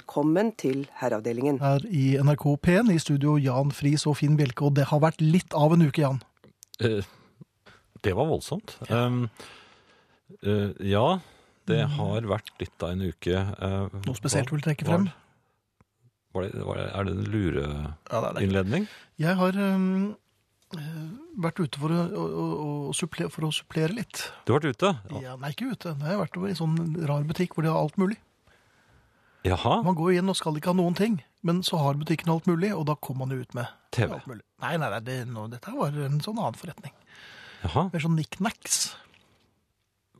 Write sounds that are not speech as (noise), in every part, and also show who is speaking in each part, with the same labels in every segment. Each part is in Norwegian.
Speaker 1: Velkommen til Herreavdelingen.
Speaker 2: Her i NRK P1 i studio Jan Friis og Finn Bjelke, og det har vært litt av en uke, Jan.
Speaker 3: Eh, Det var voldsomt. Um, eh, ja, det har vært litt av en uke. Eh,
Speaker 2: Noe spesielt du
Speaker 3: hva-
Speaker 2: vil trekke frem?
Speaker 3: Var det, var det, er det en
Speaker 2: Ja,
Speaker 3: lureinnledning?
Speaker 2: det Jeg har øhm, øh, vært ute for å, å, å, supplere, for å supplere litt.
Speaker 3: Du har vært ute? Ja.
Speaker 2: Ja, nei, ikke ute. Jeg har vært over i en sånn rar butikk hvor de har alt mulig.
Speaker 3: Jaha?
Speaker 2: Man går jo inn og skal ikke ha noen ting, men så har butikken alt mulig, og da kommer man jo ut med
Speaker 3: TV.
Speaker 2: alt mulig. Nei, nei, nei det, nå, dette var en sånn annen forretning.
Speaker 3: Jaha.
Speaker 2: Mer sånn knickknacks.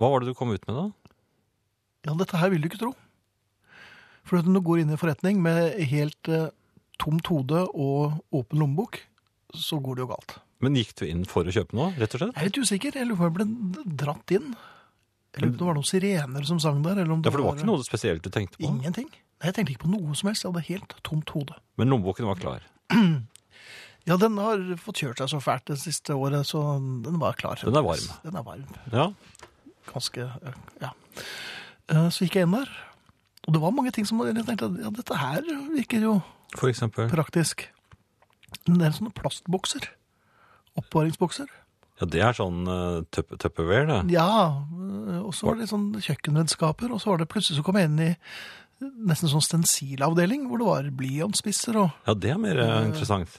Speaker 3: Hva var det du kom ut med, da?
Speaker 2: Ja, dette her vil du ikke tro. For at når du går inn i en forretning med helt eh, tomt hode og åpen lommebok, så går det jo galt.
Speaker 3: Men Gikk du inn for å kjøpe noe, rett og slett?
Speaker 2: Jeg er litt usikker. Jeg lurer på om jeg ble dratt inn. Jeg lurer på om det var noen sirener som sang der. Eller om
Speaker 3: Ja, For det var ikke noe spesielt du tenkte på?
Speaker 2: Ingenting. Nei, jeg tenkte ikke på noe som helst. Jeg hadde helt tomt hode.
Speaker 3: Men lommeboken var klar?
Speaker 2: Ja, den har fått kjørt seg så fælt det siste året, så den var klar.
Speaker 3: Den er varm.
Speaker 2: Den er varm.
Speaker 3: Ja.
Speaker 2: Ganske, ja. Eh, Så gikk jeg inn der, og det var mange ting som jeg tenkte at ja, dette her virker jo
Speaker 3: For eksempel?
Speaker 2: praktisk. En del sånne plastbokser. Oppbevaringsbokser.
Speaker 3: Ja, det er sånn uh, Tupperware, det.
Speaker 2: Ja, øh, og så var det litt sånn kjøkkenredskaper, og så var det plutselig så kom jeg inn i nesten sånn stensilavdeling, hvor det var blyantspisser og
Speaker 3: Ja, det er mer eh, interessant.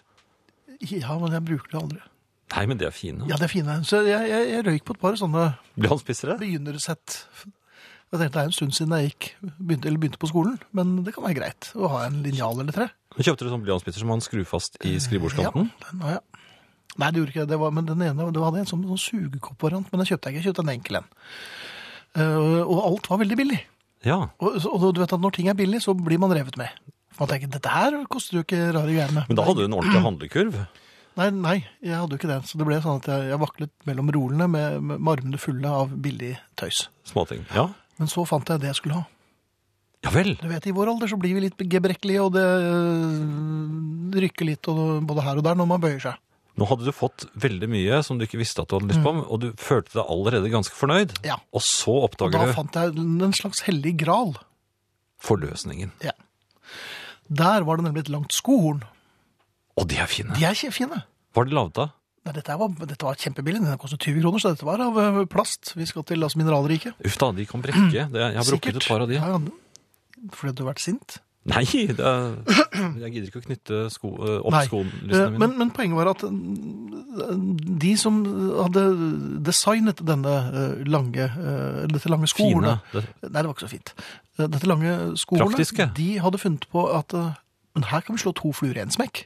Speaker 2: Ja, men jeg bruker det aldri.
Speaker 3: Nei, men de er fine.
Speaker 2: Ja, det er fine. Så jeg, jeg, jeg røyk på et par sånne
Speaker 3: Blyantspissere?
Speaker 2: begynnersett. Jeg tenkte det er en stund siden jeg gikk, begynte, eller begynte på skolen, men det kan være greit å ha en linjal eller tre.
Speaker 3: Men Kjøpte du sånn blyantspisser som man skrur fast i skrivebordskanten?
Speaker 2: Ja, den har jeg. Nei, det gjorde ikke jeg. det. Var, men den ene det hadde jeg en sånn, sånn sugekoppvariant, men den kjøpte jeg ikke. Jeg kjøpte en enkel en. Eh, og alt var veldig billig.
Speaker 3: Ja.
Speaker 2: Og, og du vet at når ting er billig, så blir man revet med. Man tenker, dette her koster jo ikke rare greiene.
Speaker 3: Men da hadde du en ordentlig handlekurv.
Speaker 2: Nei, nei, jeg hadde jo ikke det. Så det ble sånn at jeg, jeg vaklet mellom rolene med, med armene fulle av billig tøys.
Speaker 3: Småting. Ja.
Speaker 2: Men så fant jeg det jeg skulle ha.
Speaker 3: ja vel.
Speaker 2: Du vet, I vår alder så blir vi litt gebrekkelige, og det øh, rykker litt og, både her og der når man bøyer seg.
Speaker 3: Nå hadde du fått veldig mye som du ikke visste at du hadde lyst på, og du følte deg allerede ganske fornøyd.
Speaker 2: Mm. Ja.
Speaker 3: Og så
Speaker 2: Og da
Speaker 3: oppdager du
Speaker 2: fant jeg en slags hellig gral.
Speaker 3: forløsningen.
Speaker 2: Ja. Der var det nemlig et langt skohorn.
Speaker 3: Og de er fine.
Speaker 2: De er kjempefine.
Speaker 3: Var det laget av?
Speaker 2: Nei, dette, her var, dette var kjempebillig. Den kostet 20 kroner, så dette var av øh, plast. Vi skal til altså, mineralriket.
Speaker 3: Uff da, de kan brekke. Det, jeg har brukket
Speaker 2: Sikkert.
Speaker 3: et par av de.
Speaker 2: Ja, ja. Fordi du har vært sint?
Speaker 3: Nei, det er, jeg gidder ikke å knytte sko, eh, opp
Speaker 2: Nei.
Speaker 3: skolissene
Speaker 2: Eh,
Speaker 3: mine.
Speaker 2: Men, men poenget var at eh, de som hadde designet denne eh, lange, eh, dette lange
Speaker 3: Fine.
Speaker 2: skohornet
Speaker 3: Det,
Speaker 2: Nei, det var ikke så fint. Eh, Dette lange skohornet,
Speaker 3: Praktiske.
Speaker 2: de hadde funnet på at eh, men her kan vi slå to fluer i en smekk.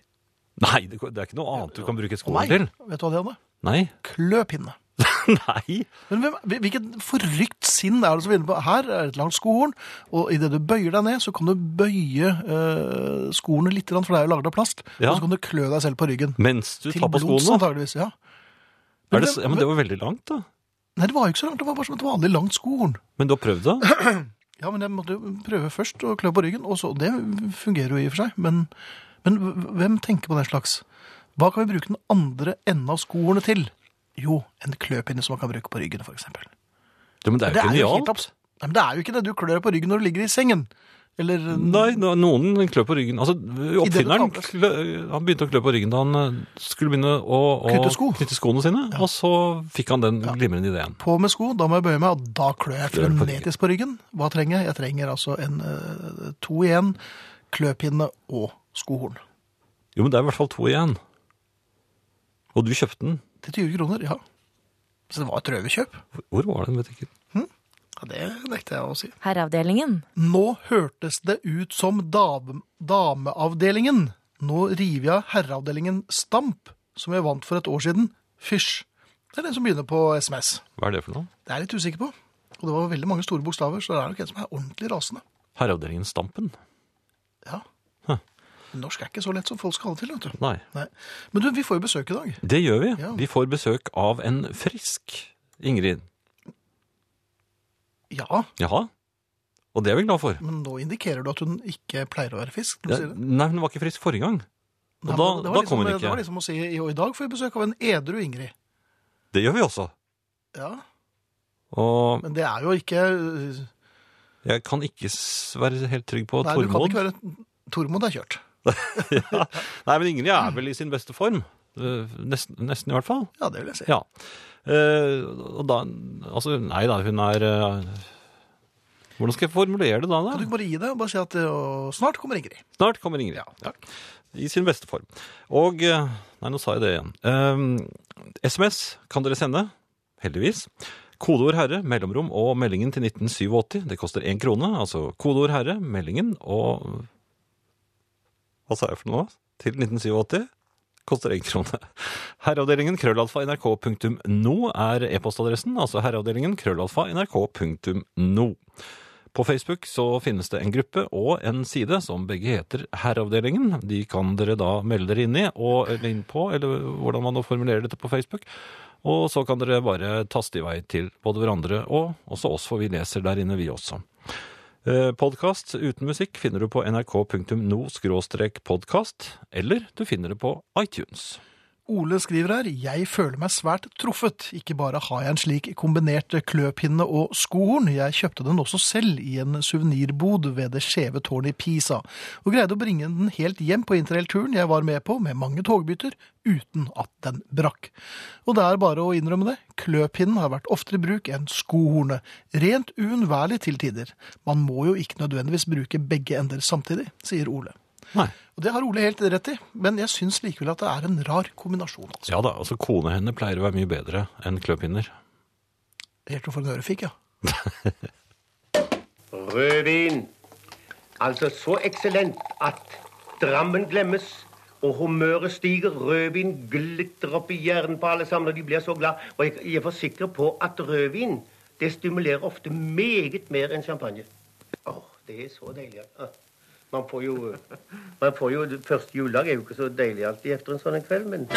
Speaker 3: nei, det, det er ikke noe annet du kan bruke et
Speaker 2: Å,
Speaker 3: skohorn til.
Speaker 2: Vet du hva de hadde?
Speaker 3: Nei. (laughs)
Speaker 2: Kløpinne.
Speaker 3: nei.
Speaker 2: Men hvem, hvilket forrykt sinn er det som begynner på Her er et langt skohorn, og idet du bøyer deg ned, så kan du bøye eh, skoene litt, grann, for det er jo laget av plast,
Speaker 3: Ja.
Speaker 2: og så kan du klø deg selv på ryggen.
Speaker 3: Mens du tar på skoene.
Speaker 2: antageligvis, ja.
Speaker 3: Er det,
Speaker 2: Men-
Speaker 3: ja, men det var veldig langt, da.
Speaker 2: Nei, det var jo ikke så langt, det var bare som et vanlig langt skohorn.
Speaker 3: Men du har prøvd
Speaker 2: (clears throat)
Speaker 3: det?
Speaker 2: Ja, men jeg måtte jo prøve først å klø på ryggen, og så, det fungerer jo i og for seg, men, men hvem tenker på den slags? Hva kan vi bruke den andre enden av skoene til? Jo, en kløpinne som man kan bruke på ryggen, for eksempel.
Speaker 3: Ja, men det er
Speaker 2: Det
Speaker 3: jo
Speaker 2: er jo helt
Speaker 3: genialt.
Speaker 2: abs- Nei, men det er jo ikke det. Du klør på ryggen når du ligger i sengen. Eller mm,
Speaker 3: Nei, nå- noen klør på ryggen. Altså, oppfinneren
Speaker 2: tar på-
Speaker 3: klø, øh, han begynte å klø på ryggen da han eh, skulle begynne å, å
Speaker 2: Knytte sko.
Speaker 3: knytte skoene sine, og så fikk han den glimrende ideen.
Speaker 2: på med sko, da må jeg bøye meg, og da klør jeg
Speaker 3: Klør på ryggen.
Speaker 2: frenetisk på ryggen. Hva trenger jeg? Jeg trenger altså en eh, to i en, kløpinne og skohorn.
Speaker 3: Jo, men det er i hvert fall to igjen. Og du kjøpte den.
Speaker 2: Til 20 kroner, ja. Så det var et røverkjøp.
Speaker 3: Hvor var den, vet jeg ikke.
Speaker 2: Ja, det nekter jeg å si.
Speaker 4: Herreavdelingen.
Speaker 2: Nå hørtes det ut som dame, dameavdelingen. Nå river jeg herreavdelingen Stamp, som jeg vant for et år siden. Fysj. Det er den som begynner på SMS.
Speaker 3: Hva er det for noe?
Speaker 2: Det er jeg litt usikker på. Og det var veldig mange store bokstaver, så det er nok en som er ordentlig rasende.
Speaker 3: Herreavdelingen Stampen?
Speaker 2: Ja. Norsk er ikke så lett som folk skal ha det til, vet du.
Speaker 3: Nei.
Speaker 2: Nei. Men du, vi får jo besøk i dag.
Speaker 3: Det gjør vi.
Speaker 2: Ja.
Speaker 3: Vi får besøk av en frisk Ingrid.
Speaker 2: Ja,
Speaker 3: Jaha. Og det er vi glad for.
Speaker 2: men nå indikerer du at hun ikke pleier å være fisk. når
Speaker 3: Ja,
Speaker 2: Du sier det.
Speaker 3: nei, hun var ikke frisk forrige gang. Og
Speaker 2: Nei, men
Speaker 3: da,
Speaker 2: det var
Speaker 3: da
Speaker 2: liksom-
Speaker 3: kom hun
Speaker 2: Det
Speaker 3: ikke.
Speaker 2: var liksom å si jo, i dag får vi besøk av en edru Ingrid.
Speaker 3: Det gjør vi også.
Speaker 2: Ja,
Speaker 3: Og
Speaker 2: men det er jo ikke øh,
Speaker 3: Jeg kan ikke s- være helt trygg på
Speaker 2: Nei, du kan
Speaker 3: Tormod.
Speaker 2: ikke være Tormod er kjørt.
Speaker 3: ja. Nei, men Ingrid er vel i sin beste form. Eh, Nesten, nesten i hvert fall.
Speaker 2: Ja, det vil jeg si.
Speaker 3: Ja. Eh, og da Altså, nei da, hun er eh, Hvordan skal jeg formulere det da?
Speaker 2: Kan du
Speaker 3: da?
Speaker 2: ikke bare gi deg og bare si at eh, snart kommer Ingrid?
Speaker 3: Snart kommer Ingrid. Ja. I sin beste form. Og eh, Nei, nå sa jeg det igjen. Eh, SMS kan dere sende, heldigvis. Kodeord herre, mellomrom og meldingen til 1987. Det koster én krone. Altså kodeord herre, meldingen og Hva sa jeg for noe? Til 1987. Koster én krone. Herreavdelingen krøllalfa nrk.no er e-postadressen. Altså herreavdelingen krøllalfa nrk.no. På Facebook så finnes det en gruppe og en side som begge heter Herreavdelingen. De kan dere da melde dere inn i, og, eller inn på, eller hvordan man nå formulerer dette på Facebook. Og så kan dere bare taste i vei til både hverandre og også oss, for vi leser der inne, vi også. Podkast uten musikk finner du på nrk.no-podkast, eller du finner det på iTunes.
Speaker 2: Ole skriver her Jeg føler meg svært truffet. Ikke bare har jeg en slik kombinert kløpinne og skohorn, jeg kjøpte den også selv i en suvenirbod ved det skjeve tårnet i Pisa, og greide å bringe den helt hjem på interrailturen jeg var med på, med mange togbytter, uten at den brakk. Og det er bare å innrømme det, kløpinnen har vært oftere i bruk enn skohornet. Rent uunnværlig til tider. Man må jo ikke nødvendigvis bruke begge ender samtidig, sier Ole.
Speaker 3: Nei.
Speaker 2: Og Det har Ole helt rett i, men jeg syns likevel at det er en rar kombinasjon. altså.
Speaker 3: Ja da, altså kona henne pleier å være mye bedre enn kløpinner.
Speaker 2: Helt for en ørefikk, ja.
Speaker 4: Rødvin. Altså så eksellent at Drammen glemmes, og humøret stiger. Rødvin glitrer opp i hjernen på alle sammen, og de blir så glad. Og jeg, jeg er forsikret på at rødvin det stimulerer ofte meget mer enn champagne. Åh, det er så deilig. Ah, Man får jo, man får jo Første juledag er jo ikke så deilig alltid etter en sånn en kveld, men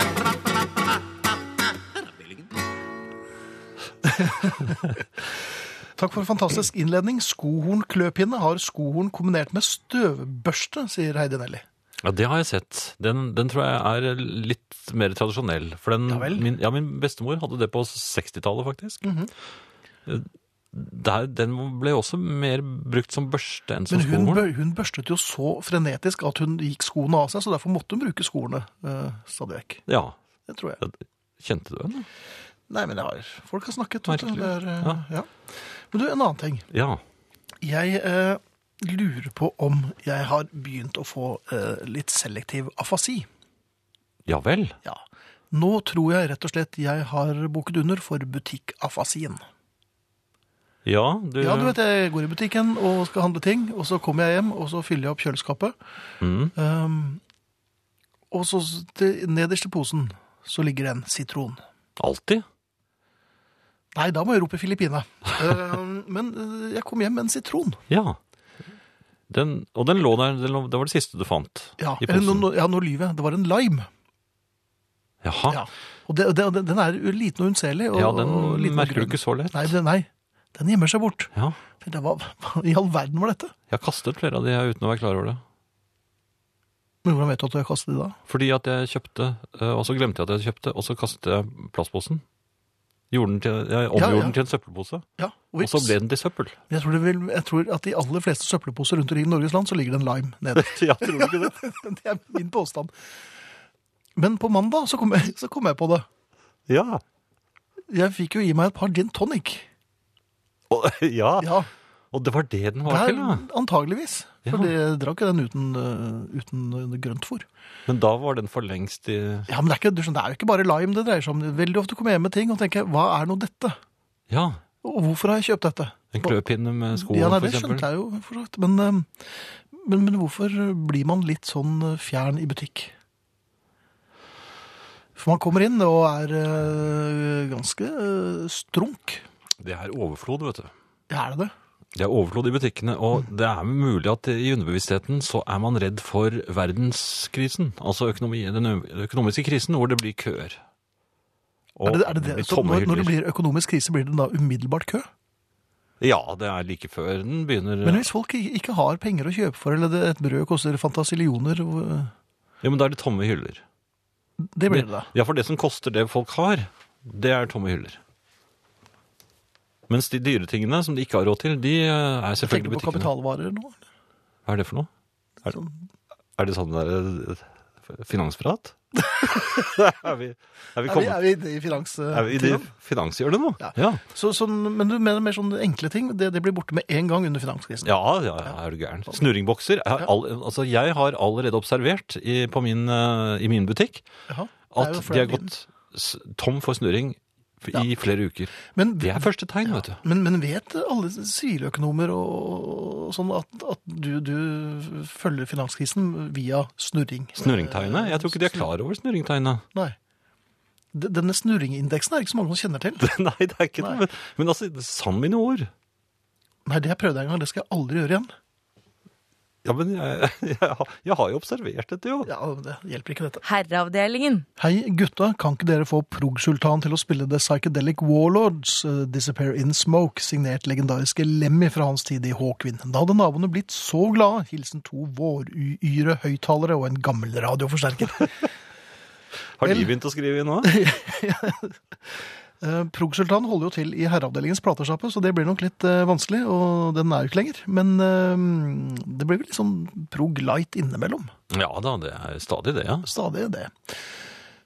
Speaker 2: Takk for en fantastisk innledning. Skohornkløpinne har skohorn kombinert med støvbørste, sier Heidi Nelly.
Speaker 3: Ja, det har jeg sett. Den, den tror jeg er litt mer tradisjonell. For den,
Speaker 2: Ja vel. Mhm.
Speaker 3: min, ja, min bestemor hadde det på 60-tallet, faktisk. Eh, Der, den ble også mer brukt som børste enn som
Speaker 2: Men hun,
Speaker 3: skohorn.
Speaker 2: bør- hun børstet jo så frenetisk at hun gikk skoene av seg, så derfor måtte hun bruke skoene eh, stadig vekk.
Speaker 3: Ja,
Speaker 2: Det tror jeg.
Speaker 3: Ja, Kjente du henne?
Speaker 2: Nei, men det har folk har snakket. vet du.
Speaker 3: Merkelig.
Speaker 2: Det er, eh, ja. Men du, en annen ting.
Speaker 3: Ja.
Speaker 2: Jeg eh, lurer på om jeg har begynt å få eh, litt selektiv afasi.
Speaker 3: Ja vel.
Speaker 2: Ja. Nå tror jeg rett og slett jeg har boket under for butikkafasien.
Speaker 3: Ja, du,
Speaker 2: Ja, du vet, jeg går i butikken og skal handle ting, og så kommer jeg hjem, og så fyller jeg opp kjøleskapet.
Speaker 3: Mm.
Speaker 2: Um, og så s- til, nederst i posen så ligger det en sitron.
Speaker 3: alltid.
Speaker 2: Nei, da må jeg rope Filippine.
Speaker 3: (laughs)
Speaker 2: um, men eh, jeg kom hjem med en sitron.
Speaker 3: Ja. Den, og den lå der, den lå, det var det siste du fant
Speaker 2: Ja,
Speaker 3: i
Speaker 2: eller, nå,
Speaker 3: posen.
Speaker 2: nå- ja nå lyver jeg. Det var en lime. Ja.
Speaker 3: Jaha. Ja,
Speaker 2: Og det, det, den er jo liten og unnselig. Og, og
Speaker 3: Ah. den
Speaker 2: liten og
Speaker 3: merker du
Speaker 2: grønn.
Speaker 3: ikke så lett.
Speaker 2: Nei, den- nei, den gjemmer seg bort.
Speaker 3: Ja.
Speaker 2: Det var, hva i all verden var dette?
Speaker 3: Jeg har kastet flere av de her uten å være klar over det.
Speaker 2: Men hvordan vet du at du har kastet de da?
Speaker 3: Fordi at jeg kjøpte, eh, og så glemte jeg at jeg kjøpte, og så kastet jeg plastposen. Gjorde den til, jeg omgjorde
Speaker 2: Ja, ja.
Speaker 3: den til en søppelpose,
Speaker 2: Ja,
Speaker 3: og så ble den til
Speaker 2: (laughs)
Speaker 3: søppel.
Speaker 2: Jeg tror, det vil, jeg tror at i aller fleste søppelposer rundt omkring i Norges land, så ligger det en lime nede. (laughs)
Speaker 3: ja, tror du ikke det?
Speaker 2: det er min påstand. Men på mandag så kom, jeg, så kom jeg på det.
Speaker 3: Ja.
Speaker 2: Jeg fikk jo i meg et par gin tonic.
Speaker 3: Og, (laughs) ja.
Speaker 2: Ja,
Speaker 3: og det var det den var
Speaker 2: der,
Speaker 3: til, ja.
Speaker 2: antageligvis. For
Speaker 3: Ja.
Speaker 2: jeg drakk jo den uten, øh, uten grønt fôr.
Speaker 3: Men da var den for lengst i...
Speaker 2: Ja, men det er, ikke, du skjønner, det er jo ikke bare lime det dreier seg om. Veldig ofte kommer jeg hjem med ting og tenker, hva er nå dette?
Speaker 3: Ja,
Speaker 2: Og hvorfor har jeg kjøpt dette?
Speaker 3: en kløpinne med skoen,
Speaker 2: ja, nei,
Speaker 3: for
Speaker 2: det
Speaker 3: eksempel.
Speaker 2: skjønte jeg jo, for så vidt. Men, øhm, men, men hvorfor blir man litt sånn øh, fjern i butikk? For man kommer inn og er øh, ganske øh, strunk.
Speaker 3: Det er overflod, vet du.
Speaker 2: Er det det?
Speaker 3: Det er overflod i butikkene, og
Speaker 2: Mm.
Speaker 3: det er mulig at i underbevisstheten så er man redd for verdenskrisen, altså økonomi, den ø- økonomiske krisen, hvor det blir køer. Og
Speaker 2: Er det, er det, det?
Speaker 3: blir
Speaker 2: Så
Speaker 3: tomme
Speaker 2: når, når det
Speaker 3: hyller.
Speaker 2: blir økonomisk krise, blir det da umiddelbart kø?
Speaker 3: Ja, det er like før den begynner.
Speaker 2: Men hvis folk ikke ikke har penger å kjøpe for, eller det, et brød koster fantasillioner, øh,
Speaker 3: Ja, men da er det tomme hyller.
Speaker 2: det blir det da.
Speaker 3: Ja, for det som koster det folk har, det er tomme hyller. Mens de dyre tingene som de ikke har råd til, de eh, er
Speaker 2: Tenker du
Speaker 3: selvfølgelig
Speaker 2: på
Speaker 3: butikkene.
Speaker 2: kapitalvarer nå? eller?
Speaker 3: Hva er det for noe? Er, er det sånn der eh,
Speaker 2: (laughs)
Speaker 3: finansprat? er, vi, er, vi
Speaker 2: Er vi,
Speaker 3: kommet,
Speaker 2: er vi i det i finans? eh,
Speaker 3: er vi i det
Speaker 2: tiden?
Speaker 3: finanshjørnet nå?
Speaker 2: Ja.
Speaker 3: Ja.
Speaker 2: Så, sånn, men du mener mer sånne enkle ting? Det, det blir borte med en gang under finanskrisen.
Speaker 3: Ja, ja, ja, er du gæren. Snurringbokser. Jeg har, all, altså, jeg har allerede observert i, på min, eh, i min butikk
Speaker 2: Jaha. Det er
Speaker 3: at
Speaker 2: jo
Speaker 3: de
Speaker 2: flere
Speaker 3: har
Speaker 2: liten.
Speaker 3: gått s- tom for snurring f- i flere uker.
Speaker 2: Men,
Speaker 3: Det er første tegn, vet du.
Speaker 2: men, men vet alle siviløkonomer og, og sånn at, at du, du følger finanskrisen via snurring?
Speaker 3: Snurringtegnet? Jeg tror ikke de er klar over snurringtegnet. (laughs)
Speaker 2: Nei. D- Denne snurringindeksen er det ikke så mange som kjenner til.
Speaker 3: Nei, det er ikke det.
Speaker 2: Nei.
Speaker 3: Men, men altså, sann mine ord.
Speaker 2: Nei, det jeg prøvde en gang, det skal jeg aldri gjøre igjen.
Speaker 3: Ja, men jeg, (laughs) jeg, har- jeg har jo observert dette, jo.
Speaker 2: Ja, det hjelper ikke dette.
Speaker 5: Herreavdelingen.
Speaker 2: Hei gutta, kan ikke dere få Prog-sultan til å spille The Psychedelic Warlords, eh, Disappear in Smoke, signert legendariske Lemmy fra hans tid i Hawkwind? Da hadde naboene blitt så glade. Hilsen to våryre høyttalere og en gammel radioforsterker.
Speaker 3: Har de
Speaker 2: Vel-
Speaker 3: begynt å skrive
Speaker 2: (laughs)
Speaker 3: inn nå?
Speaker 2: Eh, Prog-sultan holder jo til i herreavdelingens platesjappe, så det blir nok litt eh, vanskelig, og den er jo ikke lenger. Men eh, det blir vel litt sånn Prog light innimellom.
Speaker 3: Ja da, det er stadig det, ja.
Speaker 2: Stadig det.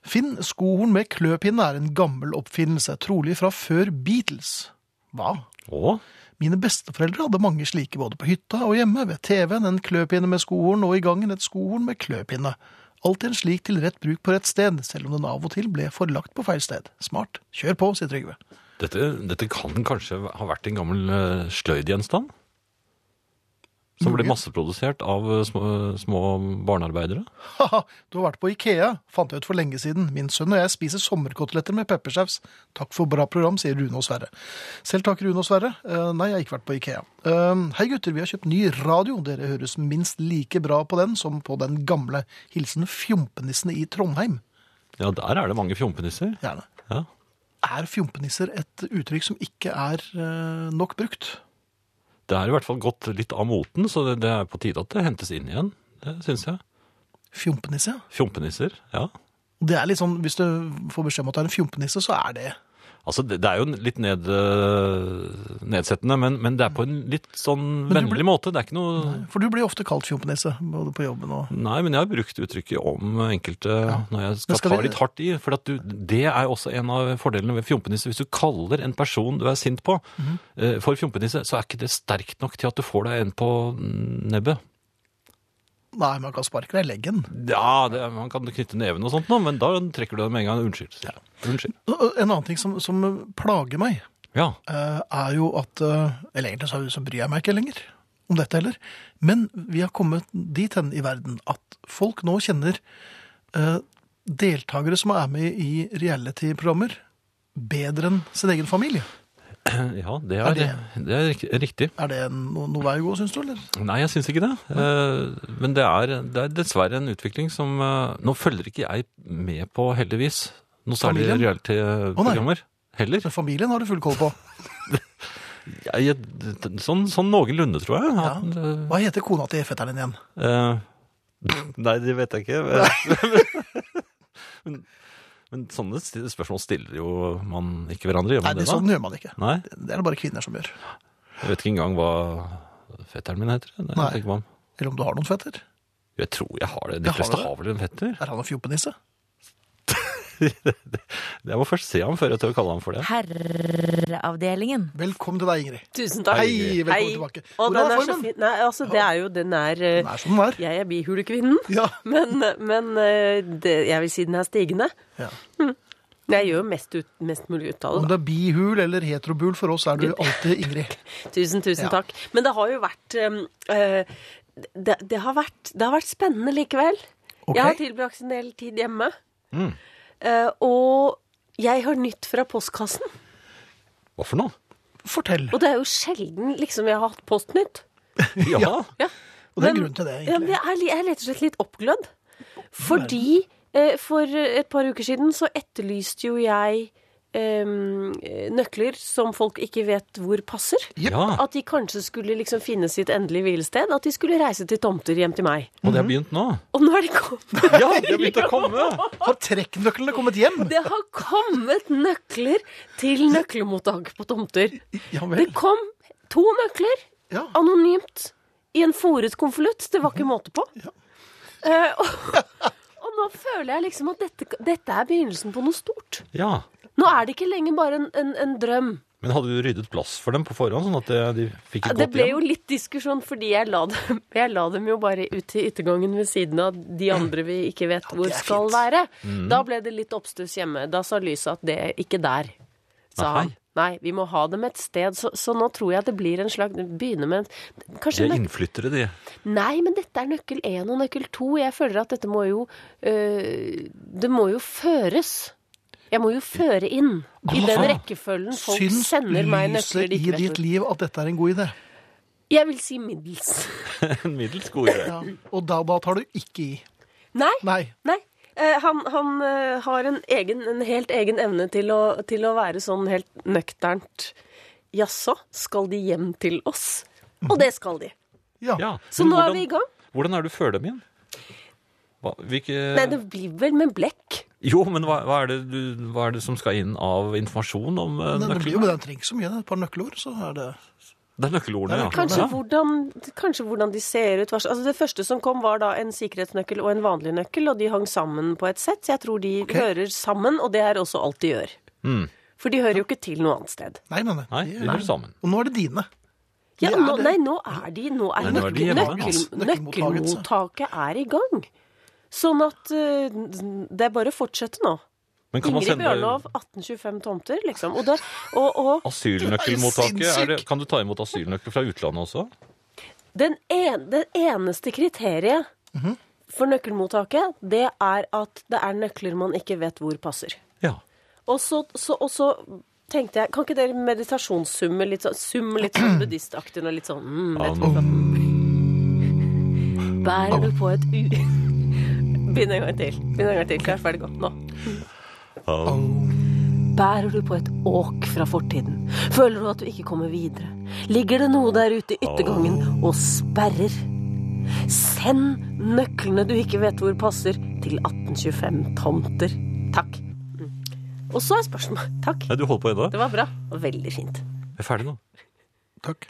Speaker 2: Finn skohorn med kløpinne er en gammel oppfinnelse, trolig fra før Beatles. Hva?
Speaker 3: Å,
Speaker 2: Mine besteforeldre hadde mange slike både på hytta og hjemme, ved TV-en en kløpinne med skohorn og i gangen et skohorn med kløpinne. Alltid en slik til rett bruk på rett sted, selv om den av og til ble forlagt på feil sted. Smart. Kjør på, sier Trygve. (laughs)
Speaker 3: dette, dette kan kanskje ha vært en gammel eh, sløydgjenstand? Som ble
Speaker 2: Mulig.
Speaker 3: masseprodusert av eh, små, små barnearbeidere?
Speaker 2: Haha, du har vært på Ikea, fant jeg ut for lenge siden. Min sønn og jeg spiser sommerkoteletter med peppersaus. Takk for bra program, sier Rune og Sverre. Selv takk, Rune og Sverre. Eh, nei, jeg har ikke vært på Ikea. Eh, hei gutter, vi har kjøpt ny radio. Dere høres minst like bra på den som på den gamle. Hilsen fjompenissene i Trondheim.
Speaker 3: Ja, der er det mange fjompenisser.
Speaker 2: Gjerne.
Speaker 3: Ja.
Speaker 2: Er fjompenisser et uttrykk som ikke er eh, nok brukt?
Speaker 3: Det er i hvert fall gått litt av moten, så det, det er på tide at det hentes inn igjen. Det syns jeg.
Speaker 2: Fjompenisse?
Speaker 3: Fjompenisser, ja.
Speaker 2: Det er litt sånn, Hvis du får beskjed om at du er en fjompenisse, så er det
Speaker 3: Altså, det, det er jo en litt ned, eh, nedsettende, men, men det er på en litt sånn
Speaker 2: Men du
Speaker 3: vennlig måte. Det er ikke noe Nei.
Speaker 2: For du blir ofte kalt fjompenisse, både på jobben og
Speaker 3: men jeg har brukt uttrykket om enkelte når jeg
Speaker 2: Men
Speaker 3: skal,
Speaker 2: skal
Speaker 3: ta
Speaker 2: vi-
Speaker 3: litt hardt i. For at du, det er også en av fordelene ved fjompenisse. Hvis du kaller en person du er sint på,
Speaker 2: Mhm.
Speaker 3: eh, for fjompenisse, så er ikke det sterkt nok til at du får deg en på nebbet.
Speaker 2: Nei, man kan sparke deg i leggen.
Speaker 3: Ja, det, man kan knytte neven og sånt nå, men da trekker du deg med en gang. Unnskyld. sier jeg. Unnskyld.
Speaker 2: Og En annen ting som, som plager meg,
Speaker 3: Ja.
Speaker 2: eh, er jo at eh, Eller egentlig så, så bryr jeg meg ikke lenger om dette heller. Men vi har kommet dit hen i verden at folk nå kjenner eh, deltakere som er med i reality-programmer, bedre enn sin egen familie.
Speaker 3: Eh, ja, det
Speaker 2: Er
Speaker 3: er, det, er rik- riktig.
Speaker 2: Er det no, noe vei å gå, syns du? eller?
Speaker 3: Nei, jeg syns ikke det. Eh, Men det er, det er dessverre en utvikling som eh, Nå følger ikke jeg med på, heldigvis, noe særlig
Speaker 2: Familien?
Speaker 3: reality-programmer.
Speaker 2: Men
Speaker 3: Heller.
Speaker 2: Altså, familien har du full koll på.
Speaker 3: Jeg, jeg- sånn, sånn noenlunde, tror jeg. At,
Speaker 2: Hva heter kona til fetteren din igjen?
Speaker 3: eh, nei, det vet jeg ikke. Men, (laughs) men, men sånne sti- spørsmål stiller jo man ikke hverandre. Gjør
Speaker 2: Nei,
Speaker 3: man
Speaker 2: det
Speaker 3: det, da?
Speaker 2: sånn gjør man ikke.
Speaker 3: Nei,
Speaker 2: Det er det bare kvinner som gjør.
Speaker 3: jeg vet ikke engang hva fetteren min heter. Det
Speaker 2: Nei.
Speaker 3: tenker man.
Speaker 2: Eller om du har noen fetter.
Speaker 3: Jeg tror jeg har det. De
Speaker 2: Jeg har
Speaker 3: fleste
Speaker 2: det.
Speaker 3: har vel en fetter?
Speaker 2: Er han en fjompenisse?
Speaker 3: Jeg må først se ham før jeg tør å kalle ham for det.
Speaker 5: Herreavdelingen.
Speaker 2: Ingrid. Velkommen til deg, Ingrid.
Speaker 6: Tusen takk.
Speaker 2: Hei, velkommen tilbake.
Speaker 6: Og
Speaker 2: Hvordan
Speaker 6: den
Speaker 2: er
Speaker 6: er så
Speaker 2: formen?
Speaker 6: fin. Nei, altså, det er jo, den er, eh,
Speaker 2: Den er som den er.
Speaker 6: Jeg er bihulekvinnen,
Speaker 2: Ja.
Speaker 6: men, men eh, det, jeg vil si den er stigende.
Speaker 2: Ja.
Speaker 6: Men Jeg gjør mest, ut, mest mulig ut av
Speaker 2: Om
Speaker 6: det.
Speaker 2: det er bihul eller heterobul, for oss er du alltid Ingrid.
Speaker 6: da. Tusen, tusen
Speaker 2: Ja.
Speaker 6: takk. Men det har jo vært eh, eh, det, det, har vært, det har vært spennende likevel.
Speaker 2: Ok. Mm.
Speaker 6: Jeg har tilbrakt en del tid hjemme. Eh, og jeg har nytt fra postkassen.
Speaker 3: Hva for noe?
Speaker 2: Fortell.
Speaker 6: Og det er jo sjelden liksom, jeg har hatt postnytt.
Speaker 3: Ja,
Speaker 6: Ja.
Speaker 2: Og det er
Speaker 6: Men-
Speaker 2: grunn til det,
Speaker 6: Ja,
Speaker 2: egentlig.
Speaker 6: men jeg er, li- jeg er rett og slett litt oppglødd. eh, Fordi eh, for et par uker siden så etterlyste jo jeg eh, nøkler som folk ikke vet hvor passer.
Speaker 2: Ah.
Speaker 3: Ja,
Speaker 6: At de kanskje skulle liksom finne sitt endelige hvilested. At de skulle reise til tomter hjem til meg.
Speaker 3: og det har begynt nå.
Speaker 6: Og nå er
Speaker 2: (laughs)
Speaker 6: de kommet.
Speaker 3: Ja, det har begynt å komme!
Speaker 2: Har trekknøklene kommet hjem?
Speaker 6: Det har kommet nøkler til nøkkelmottak på tomter.
Speaker 2: Ja
Speaker 6: Det
Speaker 2: vel.
Speaker 6: kom to nøkler
Speaker 2: Ja.
Speaker 6: anonymt i en fòret konvolutt. Det var ikke måte på.
Speaker 2: Ja.
Speaker 6: Eh, og, og nå føler jeg liksom at dette, dette er begynnelsen på noe stort.
Speaker 3: Ja,
Speaker 6: Nå er det ikke lenger bare en, en, en drøm.
Speaker 3: Men hadde du ryddet plass for dem på forhånd, sånn at det- de fikk et
Speaker 6: Det
Speaker 3: godt
Speaker 6: ble jo
Speaker 3: hjem?
Speaker 6: litt diskusjon, fordi jeg la dem, (laughs) jeg la dem jo bare ut til yttergangen ved siden av de andre vi ikke vet hvor
Speaker 2: er
Speaker 6: skal
Speaker 2: fint.
Speaker 6: være. Da ble det litt oppstuss hjemme. Da sa Lyset at det er ikke der, sa
Speaker 3: Nei.
Speaker 6: han. Nei, vi må ha dem et sted. Så, så nå tror jeg det blir en slags Begynne med en
Speaker 3: De
Speaker 6: Kanskje
Speaker 3: er
Speaker 6: nøk
Speaker 3: innflyttere, de. (laughs)
Speaker 6: Nei, men dette er nøkkel én og nøkkel to. Jeg føler at dette må jo øh, Det må jo føres. Jeg må jo føre inn. I den
Speaker 2: Altså,
Speaker 6: rekkefølgen folk
Speaker 2: Syns
Speaker 6: sender meg nøkler
Speaker 2: lyset
Speaker 6: de
Speaker 2: i
Speaker 6: ikke vet
Speaker 2: ditt
Speaker 6: hvor.
Speaker 2: liv at dette er en god idé?
Speaker 6: Jeg vil si middels. (laughs)
Speaker 3: En middels god idé.
Speaker 2: Ja. Og da, da tar du ikke i.
Speaker 6: Nei.
Speaker 2: Nei.
Speaker 6: Nei. Eh, han han eh, har en, egen, en helt egen evne til å, til å være sånn helt nøkternt Jaså, skal de hjem til oss? Og det skal de.
Speaker 2: Ja.
Speaker 3: Ja.
Speaker 6: Så
Speaker 3: men
Speaker 6: nå er
Speaker 3: hvordan-
Speaker 6: vi i gang.
Speaker 3: Hvordan er det du føler dem igjen? Hva, hvilke...
Speaker 6: Nei, det blir vel med blekk.
Speaker 3: Jo, men hva, hva, er det du, hva er det som skal inn av informasjon om eh,
Speaker 2: Men det blir jo
Speaker 3: nøkkelord?
Speaker 2: men den trenger ikke så mye. det er Et par nøkkelord, så er det
Speaker 3: Det er nøkkelordene, ja.
Speaker 6: Kanskje,
Speaker 3: ja.
Speaker 6: hvordan, kanskje hvordan de ser ut. hva- Altså, det første som kom, var da en sikkerhetsnøkkel og en vanlig nøkkel, og de hang sammen på et sett. Så jeg tror de hører sammen, og det er også alt de gjør.
Speaker 3: Mm.
Speaker 6: For de hører jo ikke til noe annet sted.
Speaker 2: Nei, nei, nei.
Speaker 3: Nei,
Speaker 2: Det-
Speaker 3: de bor sammen.
Speaker 2: Og nå er det dine.
Speaker 6: Ja,
Speaker 2: De er
Speaker 6: nå,
Speaker 2: det.
Speaker 6: nei, nå er de Nå er
Speaker 3: Nei, nå er de
Speaker 6: nøkkel,
Speaker 3: hjemme,
Speaker 6: nøkkel,
Speaker 3: altså.
Speaker 2: Nøkkelmottaket,
Speaker 6: nøkkelmottaket er i gang. Sånn at eh, det er bare å fortsette nå.
Speaker 3: Men kan man
Speaker 6: Ingrid
Speaker 3: sende
Speaker 6: Bjørlov, 1825 tomter, liksom. Og, det, og, og
Speaker 3: asylnøkkelmottaket? Er det, kan du ta imot asylnøkkel fra utlandet også?
Speaker 6: den, en, det eneste kriteriet for nøkkelmottaket, det er at det er nøkler man ikke vet hvor passer.
Speaker 3: Ja.
Speaker 6: Og så, så, og så tenkte jeg, kan ikke dere meditasjonssumme litt sånn, summe litt sånn buddhistaktig og litt sånn mm, vet du, sånn. Bærer du på et u... (laughs) Begynn en gang til. Begynn en gang til. Klar, ferdig, gå. Nå. Bærer du på et åk fra fortiden? Føler du at du ikke kommer videre? Ligger det noe der ute i yttergangen og sperrer? Send nøklene du ikke vet hvor passer, til 1825 Tomter. Takk. Mm. Og så er spørsmålet Takk.
Speaker 3: Nei, du holder på ennå?
Speaker 6: Det var bra. og Veldig fint.
Speaker 3: Jeg er ferdig nå.
Speaker 2: Takk.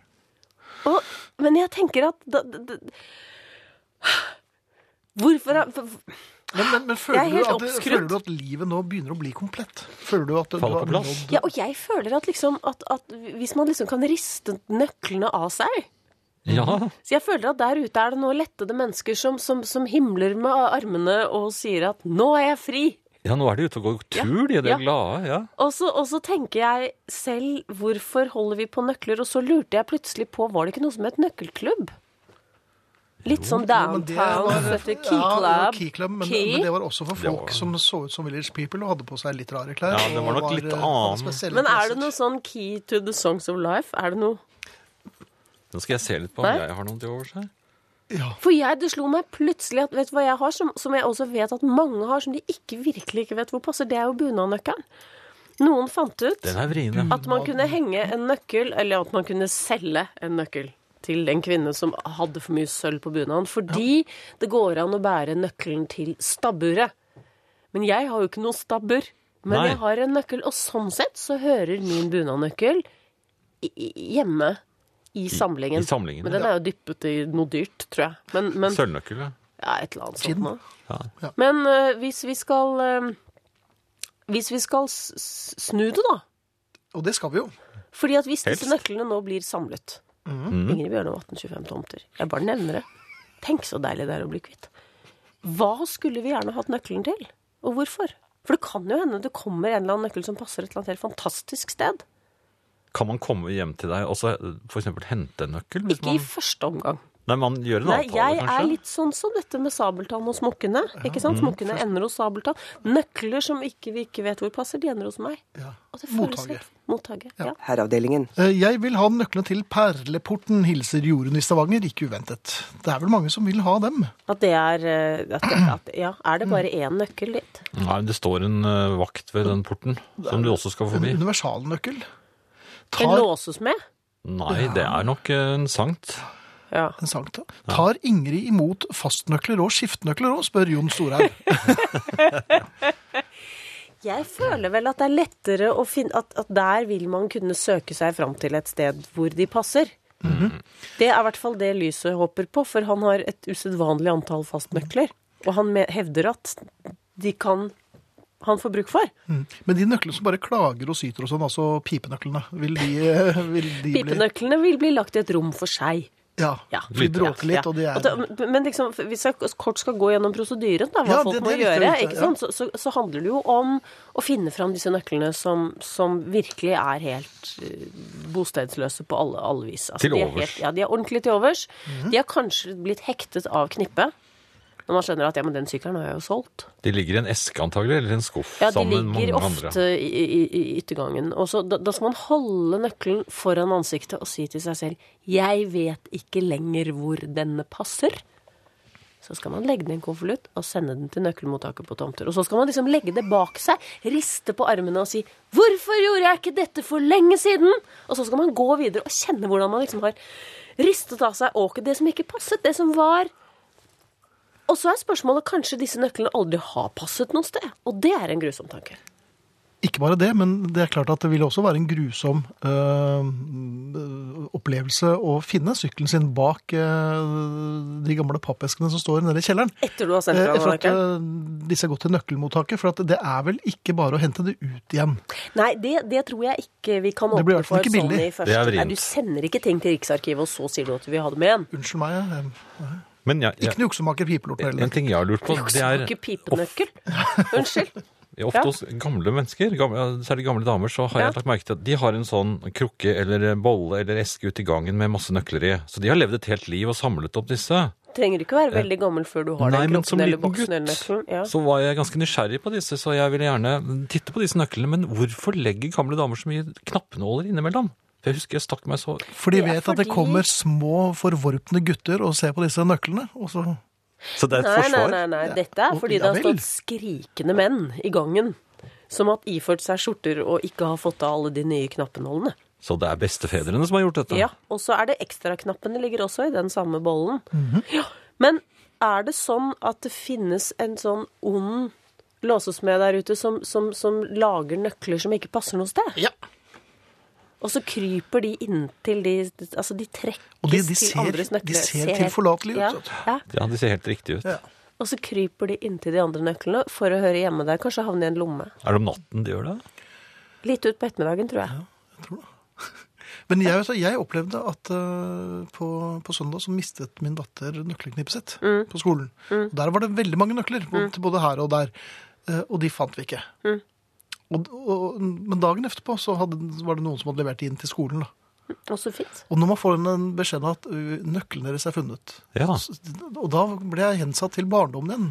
Speaker 6: Og, men jeg tenker at da, da, da, Hvorfor har
Speaker 2: Men, men, men
Speaker 6: Jeg
Speaker 2: føler,
Speaker 6: er
Speaker 2: du at,
Speaker 6: helt
Speaker 2: det-
Speaker 6: oppskrutt.
Speaker 2: føler du at livet nå begynner å bli komplett? Føler du at du
Speaker 3: Faller på
Speaker 2: har
Speaker 3: plass.
Speaker 2: nådd
Speaker 6: Ja, og jeg føler at liksom at, at hvis man liksom kan riste nøklene av seg
Speaker 3: Ja.
Speaker 6: Så jeg føler at der ute er det nå lettede mennesker som, som, som himler med armene og sier at 'nå er jeg fri'.
Speaker 3: ja, nå er de ute og går tur, de. De
Speaker 6: Ja.
Speaker 3: er glade. Ja.
Speaker 6: Og så, og så tenker jeg selv 'hvorfor holder vi på nøkler', og så lurte jeg plutselig på var det ikke noe som het nøkkelklubb? Litt sånn
Speaker 2: men det
Speaker 6: downtown,
Speaker 2: var-
Speaker 6: etter Key
Speaker 2: Ja, det
Speaker 6: Club.
Speaker 2: var Key Club, men,
Speaker 6: Key.
Speaker 2: men det var også for folk
Speaker 3: var-
Speaker 2: som så ut som Village People og hadde på seg litt rare klær.
Speaker 3: Ja, det var
Speaker 2: og
Speaker 3: nok litt
Speaker 2: eh, hadde
Speaker 3: annen.
Speaker 2: spesielle
Speaker 6: Men er det
Speaker 2: interesser.
Speaker 6: noe sånn key to the songs of life? Er det noe
Speaker 3: Nå skal jeg se litt på om
Speaker 6: Nei.
Speaker 3: jeg har noe til overs her.
Speaker 6: For jeg, det slo meg plutselig at vet du hva jeg har, som, som jeg også vet at mange har, som de ikke virkelig ikke vet hvor passer, det er jo bunadnøkkelen. Noen fant ut
Speaker 3: Den er vrien, ja.
Speaker 6: at man kunne henge en nøkkel, eller at man kunne selge en nøkkel til en kvinne som hadde for mye sølv på bunaden, fordi det går an å bære nøkkelen til stabburet. Men jeg har jo ikke noe stabbur. Men
Speaker 3: Nei.
Speaker 6: jeg har en nøkkel, og sånn sett så hører min bunadnøkkel i- i- hjemme i samlingen.
Speaker 3: i samlingen,
Speaker 6: men den er jo dyppet i noe dyrt, tror jeg. Men, men
Speaker 3: Sølvnøkkel, ja.
Speaker 6: ja, et eller annet sånt
Speaker 2: Skinn.
Speaker 6: nå.
Speaker 3: Ja.
Speaker 6: Men eh, hvis vi skal eh, Hvis vi skal s s- snu det, da.
Speaker 2: Og det skal vi jo.
Speaker 6: Fordi at hvis disse
Speaker 3: Helst. Mhm.
Speaker 6: nøklene nå blir samlet Ingrid Bjørnov 1825 tomter. Jeg bare nevner det. Tenk så deilig det er å bli kvitt. Hva skulle vi gjerne hatt nøkkelen til? Og hvorfor? For det kan jo hende det kommer en eller annen nøkkel som passer et eller annet helt fantastisk sted.
Speaker 3: Kan man komme hjem til deg og så f.eks. hente en nøkkel? hvis
Speaker 6: Ikke i
Speaker 3: man-
Speaker 6: første omgang.
Speaker 3: Nei, man gjør en
Speaker 6: Nei,
Speaker 3: avtale,
Speaker 6: jeg
Speaker 3: kanskje? mm,
Speaker 6: er litt sånn som dette med Sabeltann og smokkene. ikke sant? Smokkene ender hos Sabeltann. Nøkler som ikke, vi ikke vet hvor passer, de ender hos meg.
Speaker 2: Ja.
Speaker 6: Og det føles
Speaker 2: Mottaker.
Speaker 6: helt- Mottaker, ja.
Speaker 1: Herreavdelingen.
Speaker 2: Eh, Jeg vil ha nøklene til Perleporten, hilser Jorunn i Stavanger, ikke uventet. Det er vel mange som vil ha dem.
Speaker 6: At det er eh, at, det- at, Ja, er det
Speaker 3: Mm.
Speaker 6: bare én nøkkel dit?
Speaker 3: Nei, det står en eh, vakt ved den porten, som du også skal
Speaker 2: En
Speaker 3: forbi.
Speaker 2: universalnøkkel.
Speaker 6: Den
Speaker 2: Tar,
Speaker 6: låses med?
Speaker 3: Nei, det er nok eh, en sankt.
Speaker 6: Ja.
Speaker 2: en sankta. Tar Ingrid imot fastnøkler og skiftenøkler òg, spør Jon Storhaug.
Speaker 6: Jeg føler vel at det er lettere å finne at, at der vil man kunne søke seg fram til et sted hvor de passer. Det er i hvert fall det Lyset håper på, for han har et usedvanlig antall fastnøkler. Og han me- hevder at de kan han får bruk for.
Speaker 2: Mm. Men de nøklene som bare klager og syter og sånn, altså pipenøklene, vil de, eh, vil de bli
Speaker 6: Pipenøklene vil bli lagt i et rom for seg.
Speaker 2: Ja.
Speaker 6: Ja.
Speaker 2: for De bråker litt,
Speaker 6: Ja.
Speaker 2: og de er
Speaker 6: det- men liksom, hvis jeg kort skal gå gjennom prosedyren, da, hva
Speaker 2: Ja,
Speaker 6: folk
Speaker 2: det- det
Speaker 6: må
Speaker 2: er viktig å
Speaker 6: gjøre,
Speaker 2: vite,
Speaker 6: ikke
Speaker 2: ja.
Speaker 6: sant? Så, så, så handler det jo om å finne fram disse nøklene som, som virkelig er helt eh, bostedsløse på alle, alle vis. Altså,
Speaker 3: Til
Speaker 6: de er
Speaker 3: overs.
Speaker 6: Helt, ja, de er ordentlig til overs.
Speaker 2: Mhm.
Speaker 6: De har kanskje blitt hektet av knippet. Når man skjønner at ja, men den sykkelen har jeg jo solgt.
Speaker 3: De ligger i en eske antagelig, eller en skuff
Speaker 6: Ja, de
Speaker 3: sammen med
Speaker 6: ligger
Speaker 3: mange andre.
Speaker 6: ofte i, i, i yttergangen. Og så, da, da skal man holde nøkkelen foran ansiktet og si til seg selv 'Jeg vet ikke lenger hvor denne passer'. Så skal man legge den i en konvolutt og sende den til nøkkelmottaker på tomter. Og så skal man liksom legge det bak seg, riste på armene og si 'Hvorfor gjorde jeg ikke dette for lenge siden?' Og så skal man gå videre og kjenne hvordan man liksom har ristet av seg åket, det som ikke passet, det som var og så er spørsmålet kanskje disse nøklene aldri har passet noe sted. Og det er en grusom tanke.
Speaker 2: Ikke bare det, men det er klart at det vil også være en grusom øh, opplevelse å finne sykkelen sin bak øh, de gamle pappeskene som står nede i kjelleren.
Speaker 6: Etter du har sendt
Speaker 2: Eh,
Speaker 6: fra
Speaker 2: Jeg tror
Speaker 6: deg
Speaker 2: at
Speaker 6: nøkkelen?
Speaker 2: øh, disse har gått til nøkkelmottaket, for at det er vel ikke bare å hente det ut igjen.
Speaker 6: Nei, det, det tror jeg ikke vi kan
Speaker 2: Det blir i
Speaker 6: åpne
Speaker 2: hvert fall
Speaker 6: for
Speaker 2: ikke
Speaker 6: sånn
Speaker 2: billig.
Speaker 6: i første
Speaker 3: Det er vrient.
Speaker 6: Nei, du sender ikke ting til Riksarkivet, og så sier du at vi har det med igjen.
Speaker 2: Unnskyld meg, jeg-
Speaker 3: Men jeg,
Speaker 2: ikke
Speaker 3: jeg,
Speaker 2: noe juksemaker pipelorten
Speaker 3: en
Speaker 2: heller.
Speaker 3: ting jeg har lurt på, det er
Speaker 6: Ikke pipenøkkel. Unnskyld.
Speaker 3: ofte
Speaker 6: Ja.
Speaker 3: hos gamle mennesker, gamle, særlig gamle damer, så har
Speaker 6: Ja.
Speaker 3: jeg lagt merke til at de har en sånn krukke eller bolle eller eske ute i gangen med masse nøkler i. Så de har levd et helt liv og samlet opp disse.
Speaker 6: Trenger ikke være veldig gammel før du har
Speaker 3: Nei,
Speaker 6: den
Speaker 3: men som
Speaker 6: kroppen eller
Speaker 3: liten
Speaker 6: boksen
Speaker 3: gutt
Speaker 6: eller nøkkelen. Ja.
Speaker 3: så var jeg ganske nysgjerrig på disse, så jeg ville gjerne titte på disse nøklene. Men hvorfor legger gamle damer så mye knappenåler innimellom? For jeg husker jeg stakk meg så
Speaker 2: For de
Speaker 6: Det er
Speaker 2: vet at det
Speaker 6: fordi-
Speaker 2: kommer små, forvorpne gutter og ser på disse nøklene. Og så
Speaker 3: Så det er et
Speaker 6: Nei, nei,
Speaker 3: forsvar?
Speaker 6: nei, nei. Dette er
Speaker 2: Å,
Speaker 6: fordi
Speaker 2: ja
Speaker 6: det har
Speaker 2: vel.
Speaker 6: stått skrikende menn i gangen som har iført seg skjorter og ikke har fått av alle de nye knappenålene.
Speaker 3: Så det er bestefedrene som har gjort dette?
Speaker 6: Ja, og så er det ekstraknappene ligger også i den samme bollen.
Speaker 2: Mhm.
Speaker 6: ja, men er det sånn at det finnes en sånn ond låsesmed der ute som, som, som lager nøkler som ikke passer noe sted?
Speaker 2: Ja.
Speaker 6: Og så kryper de inntil de Altså, de trekkes
Speaker 2: Og de- de
Speaker 6: til
Speaker 2: ser-
Speaker 6: andres nøkler.
Speaker 2: de ser
Speaker 6: helt-
Speaker 2: tilforlatelige ut, altså.
Speaker 6: Ja,
Speaker 2: vet du.
Speaker 6: ja.
Speaker 3: Ja, de ser helt riktig ut.
Speaker 2: Ja.
Speaker 6: Og så kryper de inntil de andre nøklene for å høre hjemme der. Kanskje havne i en lomme.
Speaker 3: Er det om natten de gjør det?
Speaker 6: Litt ut på ettermiddagen, tror jeg.
Speaker 2: Men jeg, altså, jeg opplevde at eh, på, på søndag så mistet min datter nøkkelknippet sitt på skolen. Og Der var det veldig mange nøkler, både, til både her og der. Eh, og de fant vi ikke. Og, og, men dagen etterpå så hadde, var det noen som hadde levert de inn til skolen. Da.
Speaker 6: Og så fint. (laughs)
Speaker 2: Og når man får en- en beskjed om at ø, nøkkelen deres er funnet,
Speaker 3: Ja.
Speaker 2: s- og da ble jeg hensatt til barndommen igjen.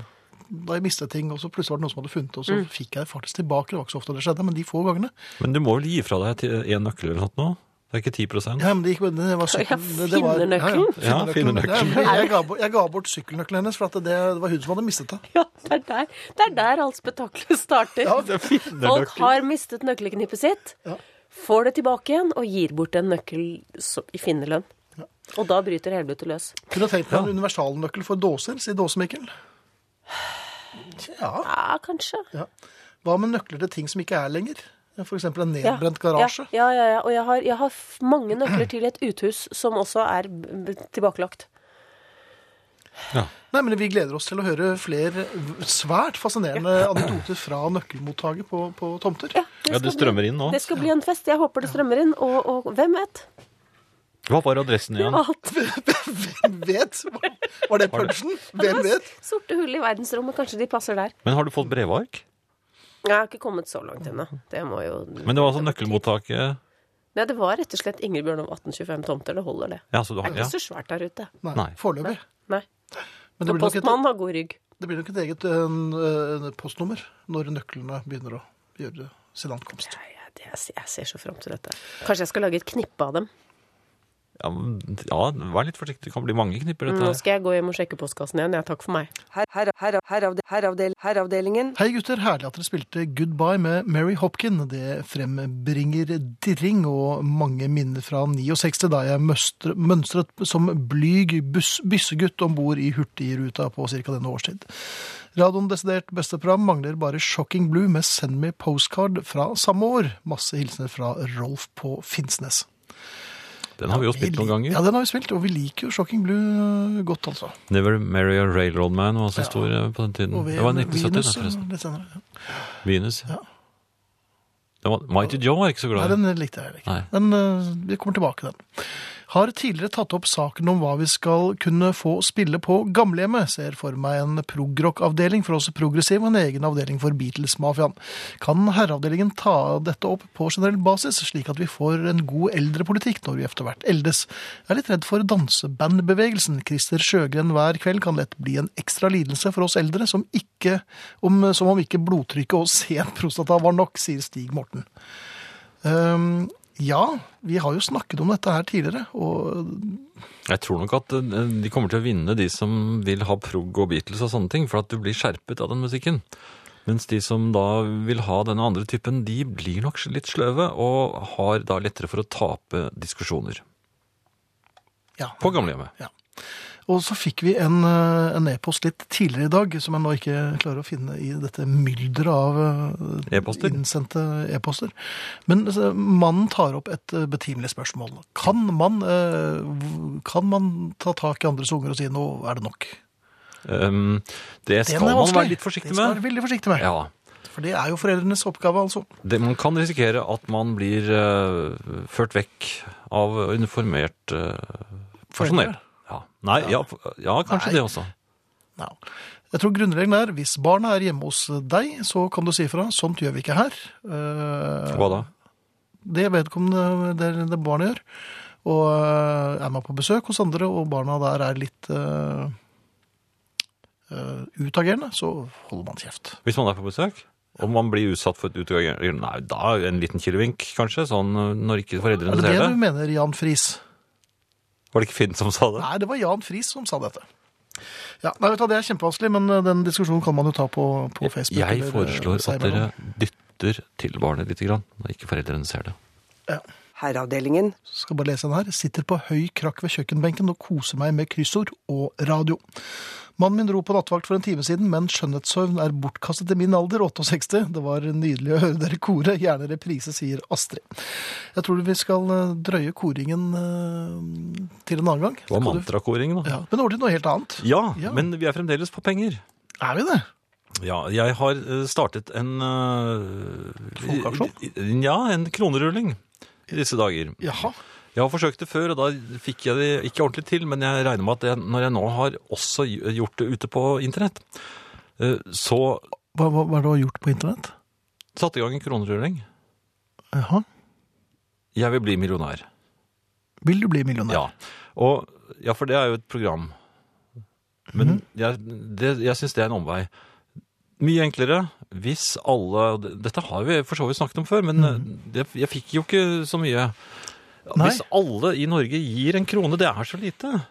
Speaker 2: Da jeg mistet ting, og så plutselig var det noen som hadde funnet det, og så
Speaker 6: Mm.
Speaker 2: fikk jeg faktisk tilbake. Det var ikke så ofte det skjedde, men de få gangene.
Speaker 3: Men du må vel gi fra deg til én nøkkel eller noe sånt nå? Det er ikke 10
Speaker 2: Ja, men det gikk det var sykkelen.
Speaker 6: Ja,
Speaker 2: det var-
Speaker 6: finnernøkkelen.
Speaker 2: Ja, ja,
Speaker 3: Ja,
Speaker 2: finnernøkkelen.
Speaker 3: finnernøkkelen.
Speaker 2: Ja, men jeg, ga bort, jeg ga bort sykkelnøkkelen hennes, for at det, det var hun som hadde mistet det.
Speaker 6: Ja, det er der, det er der alt spetakkelet starter. Folk har mistet nøkkelknippet sitt, får det tilbake igjen og gir bort en nøkkel som- i finnerlønn. Og da bryter helvete løs.
Speaker 2: (laughs) Kunne tenkt meg en universalnøkkel for dåser, sier
Speaker 6: (sighs)
Speaker 2: Dåsemikkel. Ja,
Speaker 6: Ja, kanskje.
Speaker 2: ja. Hva med nøkler til ting som ikke er lenger? For eksempel en nedbrent garasje.
Speaker 6: Ja, ja, ja. ja. Og jeg har, jeg har f- mange nøkler til et uthus som også er b- b- tilbakelagt.
Speaker 2: Nei, men Vi gleder oss til å høre flere svært fascinerende anekdoter fra nøkkelmottaket på, på tomter.
Speaker 3: Ja, det
Speaker 6: skal
Speaker 3: strømmer
Speaker 6: bli-
Speaker 3: inn nå.
Speaker 6: Det skal bli en fest. Jeg håper det strømmer inn. Og, og hvem vet?
Speaker 3: Hva var adressen igjen?
Speaker 6: Alt.
Speaker 2: (laughs) Hvem vet? Var det punchen?
Speaker 6: (laughs)
Speaker 2: Hvem vet?
Speaker 6: Sorte hull i verdensrommet. Kanskje de passer der.
Speaker 3: Men har du fått brevark?
Speaker 6: Jeg har ikke kommet så langt ennå. Det må jo
Speaker 3: Men det var altså nøkkelmottaket
Speaker 6: Nei, det var rett og slett Ingebjørn om 1825 tomter. Det holder, det.
Speaker 3: Ja, så du
Speaker 6: Det er
Speaker 3: har,
Speaker 6: ikke
Speaker 3: ja.
Speaker 6: så svært der ute.
Speaker 2: Nei,
Speaker 3: Nei.
Speaker 2: foreløpig.
Speaker 6: Nei.
Speaker 2: Men det blir,
Speaker 6: Og
Speaker 2: nok et,
Speaker 6: postmannen har god rygg.
Speaker 2: det blir nok et eget eh, eh, postnummer når nøklene begynner å gjøre sin ankomst.
Speaker 6: Nei, jeg, det- jeg, ser- jeg ser så fram til dette. Kanskje jeg skal lage et knippe av dem.
Speaker 3: Ja, men- ja, vær litt forsiktig. Det kan bli mange knipper, dette
Speaker 6: Mm, Nå
Speaker 3: her.
Speaker 6: skal jeg gå hjem og sjekke postkassen igjen. Ja, takk for meg.
Speaker 1: Her, her, her, heravde- heravdel- herravdelingen.
Speaker 2: Hei gutter, herlig at dere spilte Goodbye med Mary Hopkin. Det frembringer dirring og mange minner fra 69 da jeg møstre- mønstret som blyg buss, byssegutt om bord i Hurtigruta på ca. denne årstid. Radioen desidert beste program mangler bare Shocking Blue med Send Me Postcard fra samme år. Masse hilsener fra Rolf på Finnsnes.
Speaker 3: Den har vi jo spilt noen ganger.
Speaker 2: Ja, den har vi spilt, og vi liker jo Shocking Blue godt, altså.
Speaker 3: Never Marry a Railroad Man var så stor eh, på den tiden.
Speaker 2: Og
Speaker 3: Det var
Speaker 2: VM
Speaker 3: 1970,
Speaker 2: Venus,
Speaker 3: da, forresten.
Speaker 2: Litt senere. ja.
Speaker 3: Venus. Ja. Det var, Mighty Joe var jeg ikke så
Speaker 2: Nei,
Speaker 3: glad i.
Speaker 2: den likte jeg ikke.
Speaker 3: Nei.
Speaker 2: Men eh, vi kommer tilbake til den. Har tidligere tatt opp saken om hva vi skal kunne få spille på gamlehjemmet. Ser for meg en progrock-avdeling for oss progressive, og en egen avdeling for Beatles-mafiaen. Kan herreavdelingen ta dette opp på generell basis, slik at vi får en god eldrepolitikk når vi etter hvert eldes? Jeg er litt redd for dansebandbevegelsen. Christer Sjøgren hver kveld kan lett bli en ekstra lidelse for oss eldre, som, ikke, om, som om ikke blodtrykket og (laughs) sen prostata var nok, sier Stig Morten. Ehm, ja, vi har jo snakket om dette her tidligere, og
Speaker 3: Jeg tror nok at eh, de kommer til å vinne de som vil ha prog og Beatles og sånne ting, for at du blir skjerpet av den musikken. Mens de som da vil ha denne andre typen, de blir nok litt sløve og har da lettere for å tape diskusjoner.
Speaker 2: ja.
Speaker 3: På gamlehjemmet.
Speaker 2: Og så fikk vi en eh, en e-post litt tidligere i dag, som jeg nå ikke klarer å finne i dette mylderet av eh,
Speaker 3: E-poster?
Speaker 2: innsendte e-poster. Men eh, mannen tar opp et eh, betimelig spørsmål. Kan man, eh, v- kan man ta tak i andres unger og si 'nå er det nok'?
Speaker 3: Um, det
Speaker 2: Den
Speaker 3: skal
Speaker 2: er
Speaker 3: man
Speaker 2: vanskelig.
Speaker 3: være litt forsiktig
Speaker 2: Den skal man
Speaker 3: med.
Speaker 2: være veldig forsiktig med.
Speaker 3: Ja,
Speaker 2: For det er jo foreldrenes oppgave, altså.
Speaker 3: det, Man kan risikere at man blir eh, ført vekk av uniformert eh, personell. Ja. Nei, ja, f- ja kanskje
Speaker 2: Nei.
Speaker 3: det også.
Speaker 2: Ja. Jeg tror grunnregelen er hvis barna er hjemme hos deg, så kan du si ifra. Sånt gjør vi ikke her. Eh,
Speaker 3: Hva da?
Speaker 2: Det vedkommende det, det barnet gjør. Og eh, er man på besøk hos andre, og barna der er litt eh, eh, utagerende, så holder man kjeft.
Speaker 3: Hvis man er på besøk? Om man blir utsatt for et utgang Nei, da en liten kilevink, kanskje? Sånn eh, når ikke foreldrene
Speaker 2: Er det det
Speaker 3: ser
Speaker 2: du
Speaker 3: det?
Speaker 2: mener, Jan Friis?
Speaker 3: Var det ikke Finn som sa det?
Speaker 2: Nei, det var Jan Friis som sa dette. Ja, nei, vet du, hva, Det er kjempevanskelig, men eh, den diskusjonen kan man jo ta på, på Facebook.
Speaker 3: Jeg
Speaker 2: eller, eh,
Speaker 3: foreslår
Speaker 2: seg
Speaker 3: at
Speaker 2: imellom.
Speaker 3: dere dytter til barnet lite grann, når ikke foreldrene ser det.
Speaker 1: Herreavdelingen.
Speaker 2: skal bare lese den her, sitter på høy krakk ved kjøkkenbenken og koser meg med kryssord og radio. Mannen min dro på nattvakt for en time siden, men skjønnhetssøvn er bortkastet i min alder, 68. Det var nydelig å høre dere kore, gjerne reprise, sier Astrid. Jeg tror vi skal eh, drøye koringen eh, til en annen gang.
Speaker 3: Det var
Speaker 2: Skal du-
Speaker 3: mantrakoring, da.
Speaker 2: Ja, men over til noe helt annet.
Speaker 3: Ja,
Speaker 2: Ja.
Speaker 3: men vi er fremdeles på penger.
Speaker 2: Er vi det?
Speaker 3: Ja, jeg har eh, startet en eh,
Speaker 2: Folkeaksjon?
Speaker 3: i- i- Ja, en kronerulling i disse dager.
Speaker 2: Jaha.
Speaker 3: Jeg har forsøkt det før, og da fikk jeg det ikke ordentlig til, men jeg regner med at jeg, når jeg nå har også gjort det ute på internett, eh, så
Speaker 2: Hva, hva, hva er det du har gjort på internett?
Speaker 3: satte jeg i gang en kronerulling.
Speaker 2: Jaha.
Speaker 3: Jeg vil bli millionær.
Speaker 2: Vil du bli millionær?
Speaker 3: Ja. Og, ja, for det er jo et program. Men
Speaker 2: Mhm.
Speaker 3: jeg, det- jeg syns det er en omvei. Mye enklere hvis alle og det- Dette har vi for så vidt snakket om før, men eh, det, jeg fikk jo ikke så mye.
Speaker 2: Mhm. Nei.
Speaker 3: Hvis alle i Norge gir en krone, det er så lite.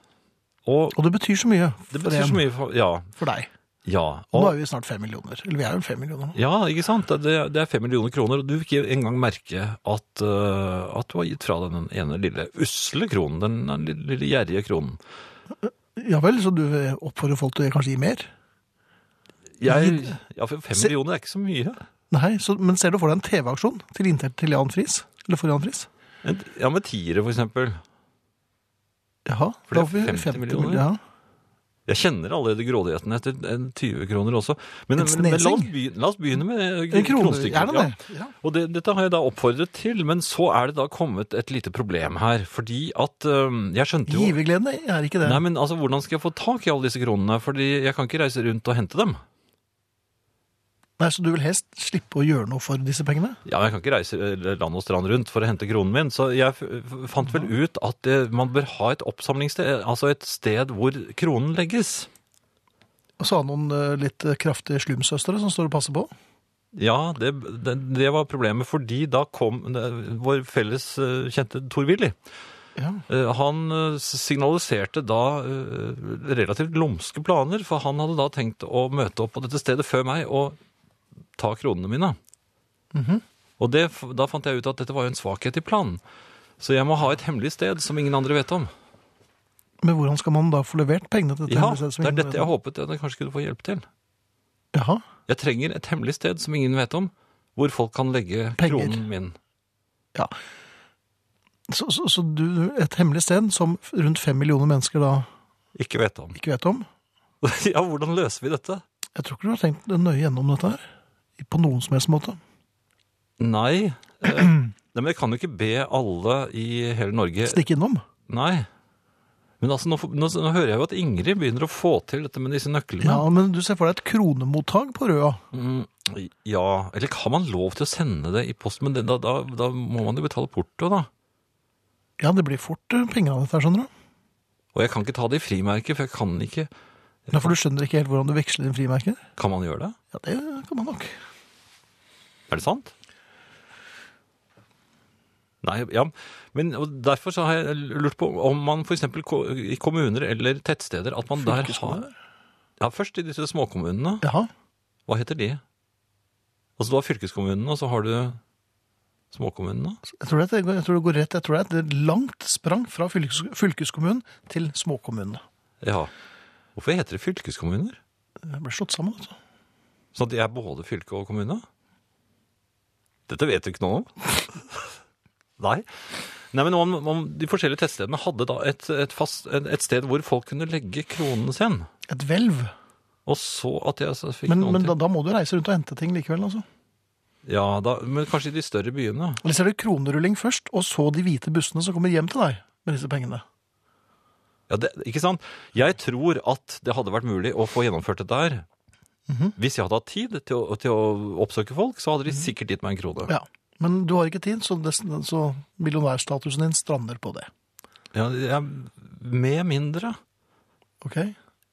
Speaker 3: Og
Speaker 2: Og det betyr så mye
Speaker 3: det
Speaker 2: for
Speaker 3: betyr så
Speaker 2: en-
Speaker 3: mye for Ja.
Speaker 2: for deg.
Speaker 3: ja.
Speaker 2: Nå
Speaker 3: Og,
Speaker 2: er vi snart fem millioner. Eller vi er jo fem millioner nå.
Speaker 3: ja, ikke sant? Det, det er fem millioner kroner, og du vil ikke engang merke at, eh, at du har gitt fra deg den ene lille usle kronen, den lille, lille gjerrige kronen.
Speaker 2: Ja vel, så du oppfordrer folk til å kanskje gi mer?
Speaker 3: Jeg, ja, for fem
Speaker 2: Se-
Speaker 3: millioner er ikke så mye.
Speaker 2: Nei, så, men ser du for deg en TV-aksjon til inntekt til Jan Friis? Eller for Jan Friis?
Speaker 3: En- Ja, med tiere, for eksempel.
Speaker 2: Jaha,
Speaker 3: For
Speaker 2: da
Speaker 3: det er
Speaker 2: får vi
Speaker 3: 50 millioner.
Speaker 2: Ja.
Speaker 3: Jeg kjenner allerede grådigheten etter en 20 kroner også. Men,
Speaker 2: En
Speaker 3: men, men la,
Speaker 2: snesing?
Speaker 3: oss begynne, la oss begynne med
Speaker 2: En
Speaker 3: eh,
Speaker 2: krone,
Speaker 3: kronestykket.
Speaker 2: er det
Speaker 3: ja.
Speaker 2: det? Ja.
Speaker 3: Og det, dette har jeg da oppfordret til, men så er det da kommet et lite problem her. Fordi at eh, jeg skjønte jo
Speaker 2: Giverglede er ikke det.
Speaker 3: Nei, men altså, hvordan skal jeg få tak i alle disse kronene? Fordi jeg kan ikke reise rundt og hente dem.
Speaker 2: Nei, Så du vil helst slippe å gjøre noe for disse pengene?
Speaker 3: Ja, men Jeg kan ikke reise eh, land og strand rundt for å hente kronen min, så jeg f f- fant vel ut at eh, man bør ha et oppsamlingssted, eh, altså et sted hvor kronen legges.
Speaker 2: Og så har han noen eh, litt eh, kraftige slumsøstre som står og passer på?
Speaker 3: Ja, det, det, det var problemet, fordi da kom eh, vår felles eh, kjente Tor-Willy.
Speaker 2: Ja.
Speaker 3: Eh, Han eh, signaliserte da eh, relativt lumske planer, for han hadde da tenkt å møte opp på dette stedet før meg og ta kronene mine.
Speaker 2: Mhm.
Speaker 3: Og det, f- da fant jeg ut at dette var jo en svakhet i planen. Så jeg må ha et hemmelig sted som ingen andre vet om.
Speaker 2: Men hvordan skal man da få levert pengene til dette?
Speaker 3: Ja,
Speaker 2: hemmelige stedet som
Speaker 3: det er
Speaker 2: ingen
Speaker 3: dette
Speaker 2: vet
Speaker 3: jeg
Speaker 2: om?
Speaker 3: håpet at jeg kanskje kunne få hjelp til.
Speaker 2: Jaha,
Speaker 3: Jeg trenger et hemmelig sted som ingen vet om, hvor folk kan legge
Speaker 2: Penger.
Speaker 3: kronen min.
Speaker 2: ja. Så, så, så du, et hemmelig sted som rundt fem millioner mennesker da
Speaker 3: Ikke vet om.
Speaker 2: ikke vet om?
Speaker 3: (laughs) Ja, hvordan løser vi dette?
Speaker 2: Jeg tror ikke du har tenkt nøye gjennom dette her. På noen som helst måte.
Speaker 3: Nei, eh, nei, men jeg kan jo ikke be alle i hele Norge
Speaker 2: Stikk innom.
Speaker 3: Nei. Men altså, nå, nå, nå hører jeg jo at Ingrid begynner å få til dette med disse
Speaker 2: Ja,
Speaker 3: nøklene.
Speaker 2: men du ser for deg et kronemottag på Røa.
Speaker 3: Mm, ja. Eller har man lov til å sende det i posten? Men det, da, da, da må man jo betale porto, da.
Speaker 2: Ja, det blir fort eh, penger av dette, her, skjønner du.
Speaker 3: Og jeg kan ikke ta det i frimerke, for jeg kan ikke
Speaker 2: Ja, for du skjønner ikke helt hvordan du veksler din frimerker?
Speaker 3: Kan man gjøre det?
Speaker 2: Ja, det kan man nok.
Speaker 3: Er det sant? Nei, ja. Men og derfor så har jeg lurt på om man f.eks. i kommuner eller tettsteder at man der har
Speaker 2: Fylkeskommuner?
Speaker 3: Ja, først i disse småkommunene.
Speaker 2: Jaha.
Speaker 3: Hva heter de? Altså du har fylkeskommunene, og så har du småkommunene.
Speaker 2: Jeg tror, det, jeg tror det går rett. Jeg tror det er et langt sprang fra fylkes, fylkeskommunen til småkommunene.
Speaker 3: Ja. Hvorfor heter det fylkeskommuner?
Speaker 2: Det ble slått sammen, altså.
Speaker 3: Sånn at de er både fylke og kommune? Dette vet du ikke noe om. (laughs) Nei. Nei, men om, om De forskjellige tettstedene hadde da et, et, fast, et et sted hvor folk kunne legge kronen sin.
Speaker 2: Et hvelv.
Speaker 3: Og så at jeg så fikk
Speaker 2: Men,
Speaker 3: noen
Speaker 2: men da,
Speaker 3: til
Speaker 2: da må du reise rundt og hente ting likevel, altså.
Speaker 3: Ja, da, men kanskje i de større byene.
Speaker 2: Eller så er det kronerulling først, og så de hvite bussene som kommer hjem til deg med disse pengene.
Speaker 3: Ja, det, ikke sant? Jeg tror at det hadde vært mulig å få gjennomført dette her.
Speaker 2: Mhm.
Speaker 3: Hvis jeg hadde hatt tid til å, til å oppsøke folk, så hadde de sikkert gitt meg en krone.
Speaker 2: Ja. Men du har ikke tid, så, det, så millionærstatusen din strander på det.
Speaker 3: Ja, jeg, med mindre
Speaker 2: Ok?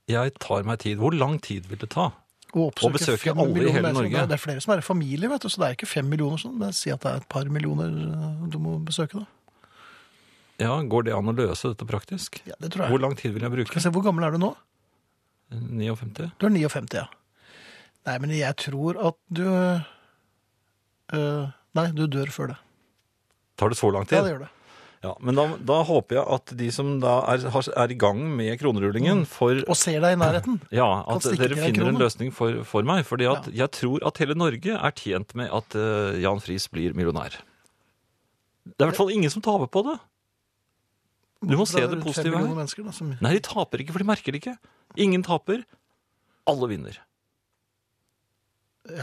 Speaker 3: jeg tar meg tid. Hvor lang tid vil det ta?
Speaker 2: Og, oppsøke
Speaker 3: Og besøke
Speaker 2: fem
Speaker 3: alle i
Speaker 2: millioner
Speaker 3: hele
Speaker 2: mennesker.
Speaker 3: Norge.
Speaker 2: Det er- Det er flere som er i familie, vet du, så det er ikke fem millioner sånn. Men si at det er et par millioner eh, du må besøke, da.
Speaker 3: Ja, Går det an å løse dette praktisk?
Speaker 2: Ja, det tror jeg.
Speaker 3: Hvor lang tid vil jeg
Speaker 2: Skal vi
Speaker 3: bruke?
Speaker 2: se, Hvor gammel er du nå?
Speaker 3: 59?
Speaker 2: Du er 59, ja. Nei, men jeg tror at du eh, Nei, du dør før det.
Speaker 3: Tar det så lang tid?
Speaker 2: Ja, det gjør det.
Speaker 3: Ja, men da, da håper jeg at de som da er, har- er i gang med kronerullingen, får
Speaker 2: Mm. Og ser deg i nærheten.
Speaker 3: Ja,
Speaker 2: Kan
Speaker 3: at
Speaker 2: stikke
Speaker 3: dere
Speaker 2: til en
Speaker 3: finner en
Speaker 2: krone.
Speaker 3: løsning for, for meg. fordi at jeg tror at hele Norge er tjent med at eh, Jan Friis blir millionær. Det er i hvert fall ingen som taper på det. (clears throat) Du må se
Speaker 2: Det er
Speaker 3: det
Speaker 2: rundt fem
Speaker 3: positive
Speaker 2: millioner
Speaker 3: her.
Speaker 2: mennesker, da, som-
Speaker 3: Nei, de taper ikke, for de merker det ikke. Ingen taper. Alle vinner.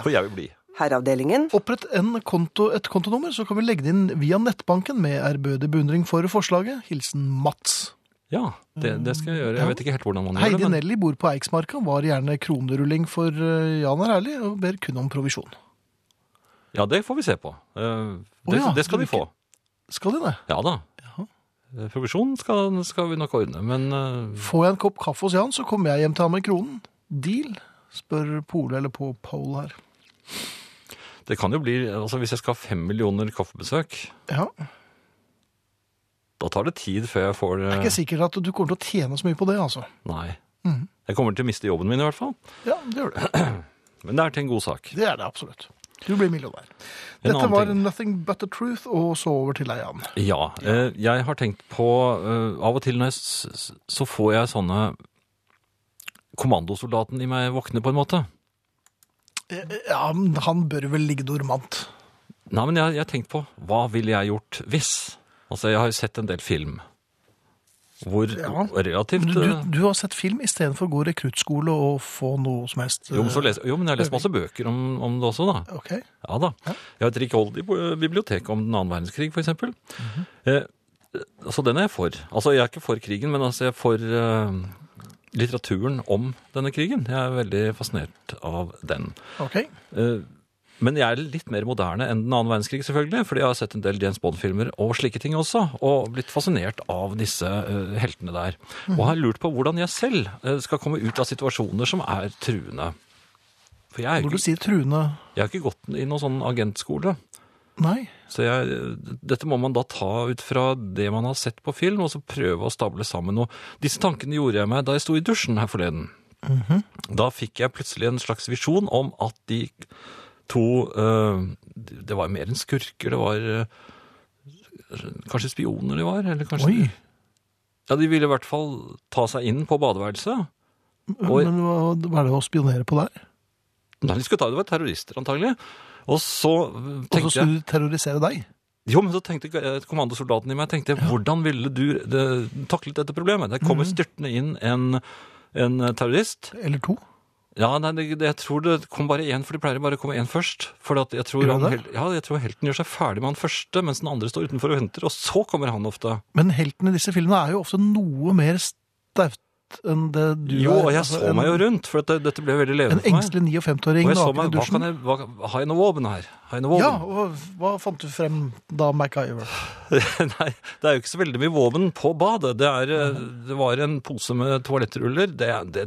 Speaker 3: For jeg vil bli.
Speaker 2: Mm.
Speaker 1: Herreavdelingen.
Speaker 2: Opprett en konto, et kontonummer, så kan vi legge det inn via nettbanken med ærbødig beundring for forslaget. Hilsen Mats.
Speaker 3: Ja, det, det skal jeg gjøre. Jeg vet ikke helt hvordan man gjør
Speaker 2: Heidi
Speaker 3: det. men-
Speaker 2: Nelly bor på Eiksmarka, var gjerne kronerulling for eh, Jan er ærlig, og ber kun om provisjon.
Speaker 3: Ja, det får vi se på. Eh, Det,
Speaker 2: ja,
Speaker 3: det skal de
Speaker 2: du
Speaker 3: få.
Speaker 2: ikke- Skal de det?
Speaker 3: Ja da. Eh, Provisjon skal, skal vi nok ordne, men eh,
Speaker 2: Får jeg en kopp kaffe hos Jan, så kommer jeg hjem til ham med kronen. Deal? Spør Pole eller på Pole her.
Speaker 3: det kan jo bli altså Hvis jeg skal ha fem millioner kaffebesøk
Speaker 2: Ja,
Speaker 3: Da tar det tid før jeg får eh,
Speaker 2: Det er ikke sikkert at du kommer til å tjene så mye på det, altså.
Speaker 3: Nei. Jeg kommer til å miste jobben min i hvert fall.
Speaker 2: Ja, det gjør det.
Speaker 3: Men det er til en god sak.
Speaker 2: Det er det absolutt. Du blir millionær.
Speaker 3: En
Speaker 2: Dette
Speaker 3: annen
Speaker 2: var
Speaker 3: ting.
Speaker 2: Nothing But The Truth, og så over til deg, Jan.
Speaker 3: Ja. eh, Jeg har tenkt på eh, Av og til når jeg, s- s- så får jeg sånne Kommandosoldaten i meg våkne, på en måte.
Speaker 2: Eh, Ja, men han bør vel ligge dormant.
Speaker 3: Nei, men jeg jeg har tenkt på hva ville jeg gjort hvis? Altså, jeg har jo sett en del film hvor
Speaker 2: Ja.
Speaker 3: relativt
Speaker 2: Men du,
Speaker 3: eh,
Speaker 2: du, du har sett film istedenfor å gå rekruttskole og få noe som helst eh,
Speaker 3: jo, men så les, jo, men jeg har lest masse bøker om, om det også, da.
Speaker 2: Ok.
Speaker 3: Ja da. Jeg har et rikholdig bo- bibliotek om den annen verdenskrig, for eksempel. eh, så den er jeg for. Altså, jeg er ikke for krigen, men altså, jeg er for eh, litteraturen om denne krigen. Jeg er veldig fascinert av den.
Speaker 2: Ok.
Speaker 3: Eh, Men jeg er litt mer moderne enn den annen verdenskrig, selvfølgelig, fordi jeg har sett en del James Bond-filmer og slike ting også, og blitt fascinert av disse eh, heltene der. Og har lurt på hvordan jeg selv eh, skal komme ut av situasjoner som er truende. For jeg har
Speaker 2: Når du
Speaker 3: ikke,
Speaker 2: sier truende
Speaker 3: jeg har ikke gått i noen sånn agentskole,
Speaker 2: Nei.
Speaker 3: så jeg, dette må man da ta ut fra det man har sett på film, og så prøve å stable sammen noe. Disse tankene gjorde jeg meg da jeg sto i dusjen her forleden.
Speaker 2: Mhm.
Speaker 3: Da fikk jeg plutselig en slags visjon om at de to eh, Det var mer enn skurker, det var eh, Kanskje spioner de var? Eller kanskje,
Speaker 2: Oi.
Speaker 3: Ja, de ville i hvert fall ta seg inn på badeværelset. Oi.
Speaker 2: Mm, Men hva, hva er det å spionere på der?
Speaker 3: Nei, de skulle ta det var terrorister, antagelig. Og så eh,
Speaker 2: Og så
Speaker 3: tenkte jeg
Speaker 2: skulle de terrorisere deg?
Speaker 3: Jo, men så tenkte eh, kommandosoldaten i meg tenkte, Hvordan ville du eh, taklet dette problemet? Det
Speaker 2: Mhm.
Speaker 3: kommer styrtende inn en, en eh, terrorist.
Speaker 2: Eller to?
Speaker 3: Ja, nei, det, det, jeg tror det kom bare én, for det pleier bare å komme én først. For at jeg, tror
Speaker 2: Gjør
Speaker 3: han,
Speaker 2: det?
Speaker 3: hel- ja, jeg tror helten gjør seg ferdig med han første, mens den andre står utenfor og venter. Og så kommer han ofte.
Speaker 2: Men helten i disse filmene er jo ofte noe mer staut enn det du er.
Speaker 3: Jo, og jeg
Speaker 2: Altså,
Speaker 3: så
Speaker 2: en-
Speaker 3: meg jo rundt, for at det, dette ble veldig
Speaker 2: En
Speaker 3: levende for meg.
Speaker 2: engstelig 59-åring
Speaker 3: Og jeg så
Speaker 2: naken i
Speaker 3: meg, hva kan
Speaker 2: dusjen.
Speaker 3: jeg, hva, Har jeg noe våpen her? Har jeg noe
Speaker 2: Ja,
Speaker 3: våpen?
Speaker 2: og hva fant du frem da, MacGyver?
Speaker 3: (laughs) Nei, det er jo ikke så veldig mye våpen på badet. Det, er, eh, det var en pose med toalettruller. Det, det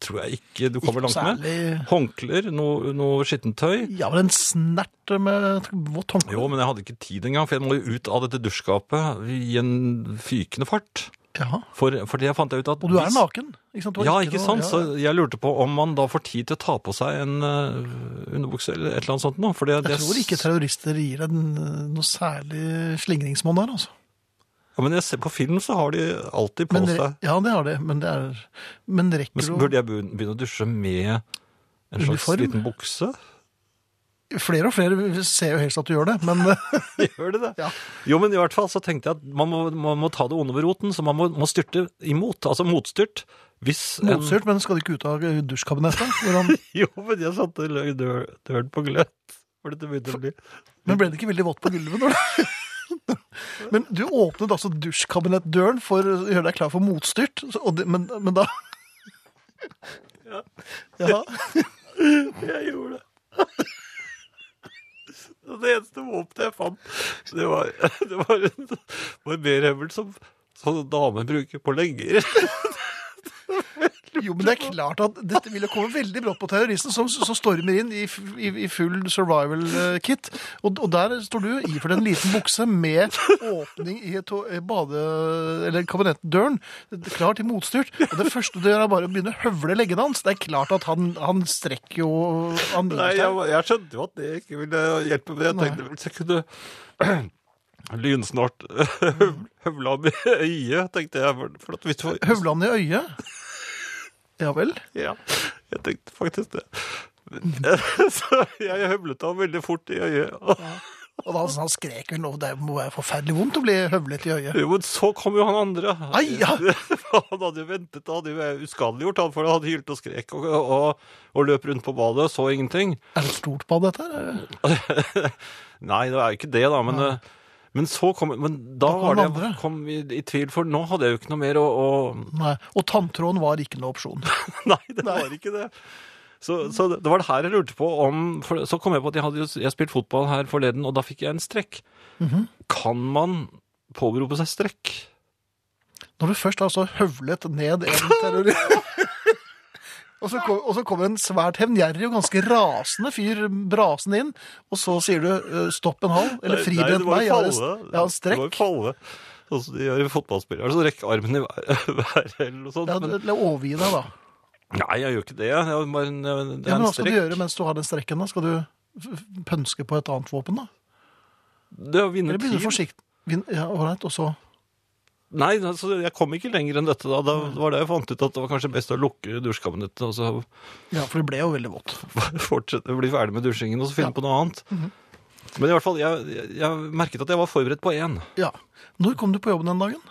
Speaker 3: tror jeg ikke du kommer
Speaker 2: Ikke
Speaker 3: langt med.
Speaker 2: særlig-
Speaker 3: Håndklær, noe, noe skittentøy.
Speaker 2: Ja, men en snert med et vått håndkle.
Speaker 3: Jo, men jeg hadde ikke tid engang, for jeg må jo ut av dette dusjskapet i en fykende fart.
Speaker 2: Ja.
Speaker 3: For, for det fant jeg ut at...
Speaker 2: Og du er
Speaker 3: hvis-
Speaker 2: naken. Ikke sant? Du har
Speaker 3: Ja, ikke
Speaker 2: noe-
Speaker 3: sant?
Speaker 2: ja.
Speaker 3: Så jeg lurte på om man da får tid til å ta på seg en eh, underbukse eller et eller annet sånt nå. For det,
Speaker 2: Jeg
Speaker 3: det-
Speaker 2: tror ikke terrorister gir deg noe særlig slingringsmonn her, altså.
Speaker 3: Ja, men jeg ser på film så har de alltid på
Speaker 2: Men, re-
Speaker 3: seg...
Speaker 2: ja, det har det, men det er Men rekker
Speaker 3: Men så burde jeg begyn- begynne å dusje med en slags
Speaker 2: Uniform?
Speaker 3: liten bukse?
Speaker 2: jo Flere og flere ser jo helst at du gjør det, men
Speaker 3: (laughs)
Speaker 2: (laughs)
Speaker 3: Gjør det det?
Speaker 2: Ja.
Speaker 3: Jo, men i hvert fall så tenkte jeg at man må, man må ta det onde ved roten, så man må, må styrte imot, altså motstyrt. Hvis en-
Speaker 2: motstyrt. Men skal du ikke ut av dusjkabinettet? Hvordan,
Speaker 3: (laughs) Jo, men jeg satte løg dør, døren på gløtt. For dette begynte å bli
Speaker 2: men ble det ikke veldig vått på gulvet? Når du... (laughs) Men du åpnet altså dusjkabinettdøren for å gjøre deg klar for motstyrt, så- og det, men, men da (laughs) Ja.
Speaker 3: Jeg gjorde det. (laughs) Og Det eneste våpenet jeg fant, det var, (laughs) det var en barberhøvel som sånne damer bruker på legger.
Speaker 2: (laughs) Jo, men det er klart at dette vil jo komme veldig brått på terroristen, som, som stormer inn i, f- i, i full survival-kit. Og, og der står du iført en liten bukse med åpning i to, eh, bade- eller kabinettdøren, klar til motstyrt. Og det første du gjør, er bare å begynne å høvle leggene hans. Det er klart at han, han strekker jo han
Speaker 3: Nei,
Speaker 2: gir
Speaker 3: jeg,
Speaker 2: seg.
Speaker 3: var- jeg skjønte jo at det ikke ville hjelpe, men jeg tenkte hvis jeg kunne (clears throat) lynsnart høvla med øyet, tenkte jeg. for- For at hvis du var-
Speaker 2: Høvle han i øyet. Ja vel.
Speaker 3: (laughs) Ja, jeg tenkte faktisk det. (laughs) Så jeg høvlet ham veldig fort i øyet. og-
Speaker 2: Og da, altså, han skrek vel nå, det må være forferdelig vondt å bli høvlet i øyet.
Speaker 3: (laughs) Jo, men så kom jo han andre.
Speaker 2: Ai, ja.
Speaker 3: (laughs) Han hadde jo ventet, han hadde jo uskadeliggjort han, for han hadde hylt og skrek og, og, og løp rundt på badet og så ingenting.
Speaker 2: Er det et stort bad, dette her?
Speaker 3: (laughs) Nei, det er jo ikke det, da, men, eh, men så kom Men da,
Speaker 2: kom
Speaker 3: var det
Speaker 2: andre.
Speaker 3: jeg kom i, i tvil, for nå hadde jeg jo ikke noe mer å, å (laughs)
Speaker 2: Nei. Og tanntråden var ikke noe opsjon.
Speaker 3: Nei, det var ikke det. Så, så det var det her jeg lurte på om for Så kom jeg på at jeg hadde jo jeg hadde spilt fotball her forleden, og da fikk jeg en strekk.
Speaker 2: Mhm.
Speaker 3: Kan man påberope seg strekk?
Speaker 2: Når du først altså høvlet ned en terrorist (laughs) Og så, kom, og så kommer en svært hevngjerrig og ganske rasende fyr brasende inn, og så sier du eh, 'stopp en hal', eller 'frident meg', jeg har en, jeg har en
Speaker 3: Det var
Speaker 2: strekk.
Speaker 3: falle. Sånn som de gjør i fotballspillere. Så rekker armen sånn i været (laughs) eller noe sånt.
Speaker 2: Ja,
Speaker 3: men,
Speaker 2: eller overgi deg, da.
Speaker 3: nei, jeg gjør ikke det. Jeg har bare en, det
Speaker 2: Ja, men
Speaker 3: er en
Speaker 2: hva skal du
Speaker 3: strekk.
Speaker 2: gjøre mens du har den strekken? da? Skal du f- f- pønske på et annet våpen, da?
Speaker 3: Det er å vinne
Speaker 2: Eller blir du
Speaker 3: tid.
Speaker 2: forsiktig? Vin- Ja, Ålreit, og så
Speaker 3: Nei, altså, jeg kom ikke lenger enn dette. da. da det var da jeg fant ut at det var kanskje best å lukke dusjkabinettet og så (laughs)
Speaker 2: Ja, for det ble jo veldig vått.
Speaker 3: fortsette, bli ferdig med dusjingen og så finne på noe annet. Men i hvert fall, jeg, jeg, jeg merket at jeg var forberedt på én.
Speaker 2: Ja. Når kom du på jobben den dagen?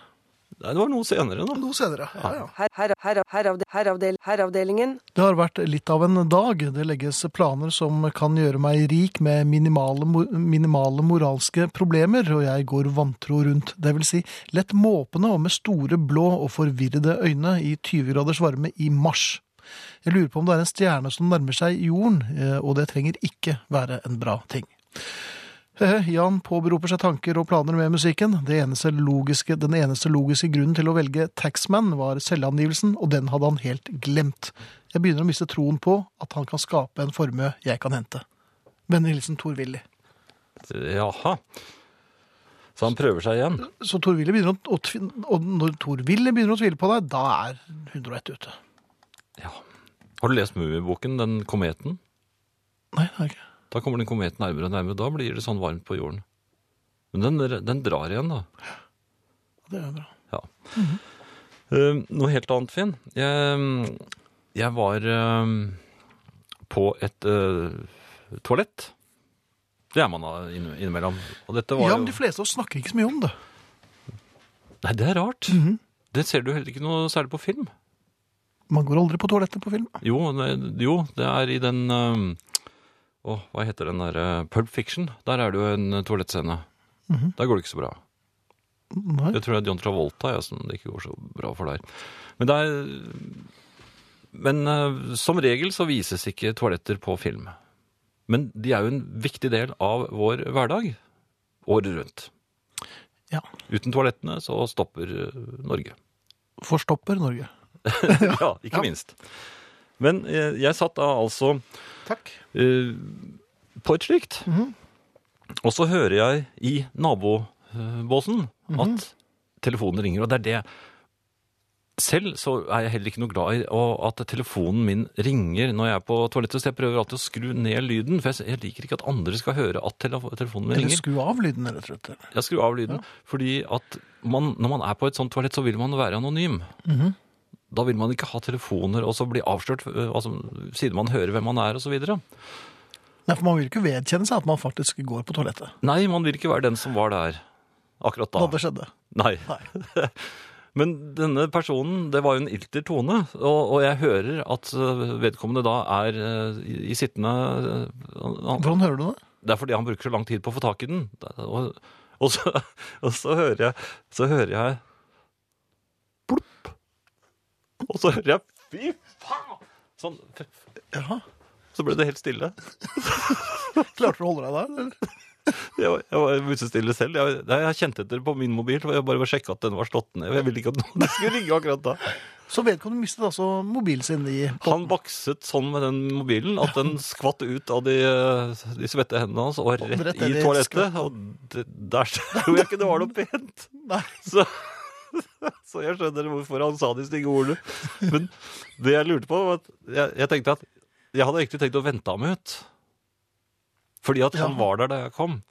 Speaker 3: Nei, det var noe senere, da.
Speaker 2: Noe senere. Ja, ja.
Speaker 1: Her, her, her, heravde, heravdel, heravdelingen.
Speaker 2: Det har vært litt av en dag. Det legges planer som kan gjøre meg rik med minimale, mo- minimale moralske problemer, og jeg går vantro rundt. Det vil si lett måpende og med store blå og forvirrede øyne i 20 graders varme i mars. Jeg lurer på om det er en stjerne som nærmer seg jorden, eh, og det trenger ikke være en bra ting. Eh, Jan påberoper seg tanker og planer med musikken. Det eneste logiske, den eneste logiske grunnen til å velge Taxman var selvangivelsen, og den hadde han helt glemt. Jeg begynner å miste troen på at han kan skape en formue jeg kan hente. Vennlig hilsen Tor-Willy.
Speaker 3: Jaha. Så han prøver seg igjen.
Speaker 2: Så Tor-Willy begynner å, å tvi- og når Tor-Willy begynner å tvile på deg, da er 101 ute.
Speaker 3: Ja. Har du lest Mummiboken, den kometen?
Speaker 2: Nei, det er ikke.
Speaker 3: Da kommer den kometen nærmere og nærmere, og da blir det sånn varmt på jorden. Men den, den drar igjen, da.
Speaker 2: Det er bra.
Speaker 3: Ja. Eh, noe helt annet, Finn. Jeg, jeg var eh, på et eh, toalett. Det er man da inn- innimellom. Og dette var
Speaker 2: Ja, men
Speaker 3: jo
Speaker 2: de fleste av oss snakker ikke så mye om det.
Speaker 3: Nei, det er rart.
Speaker 2: Mhm.
Speaker 3: Det ser du heller ikke noe særlig på film.
Speaker 2: Man går aldri på toalettet på film.
Speaker 3: Jo, nei, jo det er i den eh, Åh, hva heter den derre Pulp Fiction? Der er det jo en eh, toalettscene.
Speaker 2: Mhm.
Speaker 3: Der går det ikke så bra.
Speaker 2: Nei.
Speaker 3: Jeg tror det er John Travolta ja, som det ikke går så bra for der. Men det er Men eh, som regel så vises ikke toaletter på film. Men de er jo en viktig del av vår hverdag året rundt.
Speaker 2: Ja.
Speaker 3: Uten toalettene så stopper eh, Norge.
Speaker 2: Forstopper Norge.
Speaker 3: ja, ikke
Speaker 2: Ja.
Speaker 3: minst. Men eh, jeg satt da altså
Speaker 2: Takk.
Speaker 3: eh, på et slikt.
Speaker 2: Mhm.
Speaker 3: Og så hører jeg i nabobåsen
Speaker 2: Mhm.
Speaker 3: at telefonen ringer, og det er det. Selv så er jeg heller ikke noe glad i å- at telefonen min ringer når jeg er på toalettet, så jeg prøver alltid å skru ned lyden, for jeg- jeg liker ikke at andre skal høre at telef- telefonen min
Speaker 2: Eller
Speaker 3: ringer.
Speaker 2: skru av lyden, rett og slett.
Speaker 3: Jeg skrur av lyden, fordi at man, når man er på et sånt toalett, så vil man være anonym.
Speaker 2: Mhm.
Speaker 3: Da vil man ikke ha telefoner og så bli avslørt, eh, altså, siden man hører hvem man er og så videre.
Speaker 2: Nei, for man vil ikke vedkjenne seg at man faktisk går på toalettet.
Speaker 3: Nei, man vil ikke være den som var der akkurat da.
Speaker 2: Da det skjedde.
Speaker 3: Nei.
Speaker 2: Nei.
Speaker 3: (laughs) Men denne personen, det var jo en ilter tone, og, og jeg hører at øh, vedkommende da er øh, i, i sittende øh, han-
Speaker 2: Hvordan hører du det?
Speaker 3: Det er fordi han bruker så lang tid på å få tak i den. Og, og, så, (laughs) og så hører jeg Så hører jeg Plopp. Og så hører jeg Fy faen! Sånn.
Speaker 2: Jaha.
Speaker 3: Så ble det helt stille.
Speaker 2: Klarte du å holde deg der? Eller?
Speaker 3: Jeg var, jeg var musestille selv. Jeg, nei, jeg kjente etter på min mobil. for Jeg bare var sjekka at den var slått ned. Jeg ville ikke at noen (laughs) skulle ringe akkurat da.
Speaker 2: Så vedkommende mistet altså mobilen sin i
Speaker 3: Han bakset sånn med den mobilen at den skvatt ut av de, eh, de svette hendene hans og
Speaker 2: Og
Speaker 3: rett
Speaker 2: rett
Speaker 3: i
Speaker 2: ned i
Speaker 3: toalettet. Og det, der tror jeg ikke det var noe pent.
Speaker 2: (laughs) Nei.
Speaker 3: Så, (laughs) så jeg skjønner hvorfor han sa de stygge ordene. Men det jeg lurte på, var at jeg, jeg tenkte at jeg hadde egentlig tenkt å vente ham ut. Fordi at han
Speaker 2: Ja.
Speaker 3: var der da jeg kom.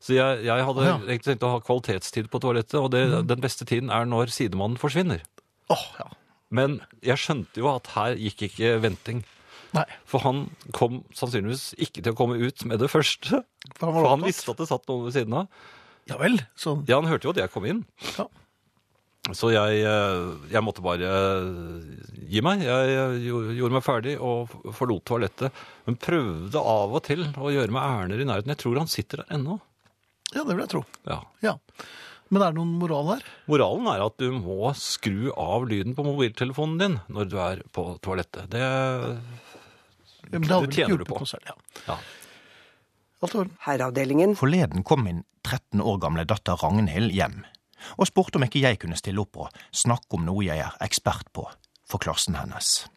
Speaker 3: Så jeg, jeg hadde
Speaker 2: Ja. Mm.
Speaker 3: egentlig tenkt å ha kvalitetstid på toalettet, og det, den beste tiden er når sidemannen forsvinner.
Speaker 2: Åh, ja.
Speaker 3: Men jeg skjønte jo at her gikk ikke venting.
Speaker 2: Nei.
Speaker 3: For han kom sannsynligvis ikke til å komme ut med det første.
Speaker 2: For
Speaker 3: For han
Speaker 2: opptatt.
Speaker 3: visste at det satt noen ved siden av.
Speaker 2: Ja vel. Så
Speaker 3: Ja, han hørte jo at jeg kom inn.
Speaker 2: Ja.
Speaker 3: Så jeg, eh, jeg måtte bare eh, gi meg. Jeg eh, gjo- gjorde meg ferdig og f- forlot toalettet. Men prøvde av og til å gjøre meg ærender i nærheten. Jeg tror han sitter der ennå.
Speaker 2: ja, det vil jeg tro.
Speaker 3: Ja.
Speaker 2: Ja. Men er det noen moral her?
Speaker 3: Moralen er at du må skru av lyden på mobiltelefonen din når du er på toalettet. Det,
Speaker 2: Ja, Men det hadde vel
Speaker 3: Det
Speaker 2: ikke
Speaker 3: tjener du
Speaker 2: hjulpet
Speaker 3: på.
Speaker 2: noe særlig. Ja.
Speaker 3: ja.
Speaker 2: Alt i orden.
Speaker 1: Herreavdelingen.
Speaker 7: Forleden kom min 13 år gamle datter Ragnhild hjem og spurte om ikke jeg kunne stille opp og snakke om noe jeg er ekspert på for klassen hennes.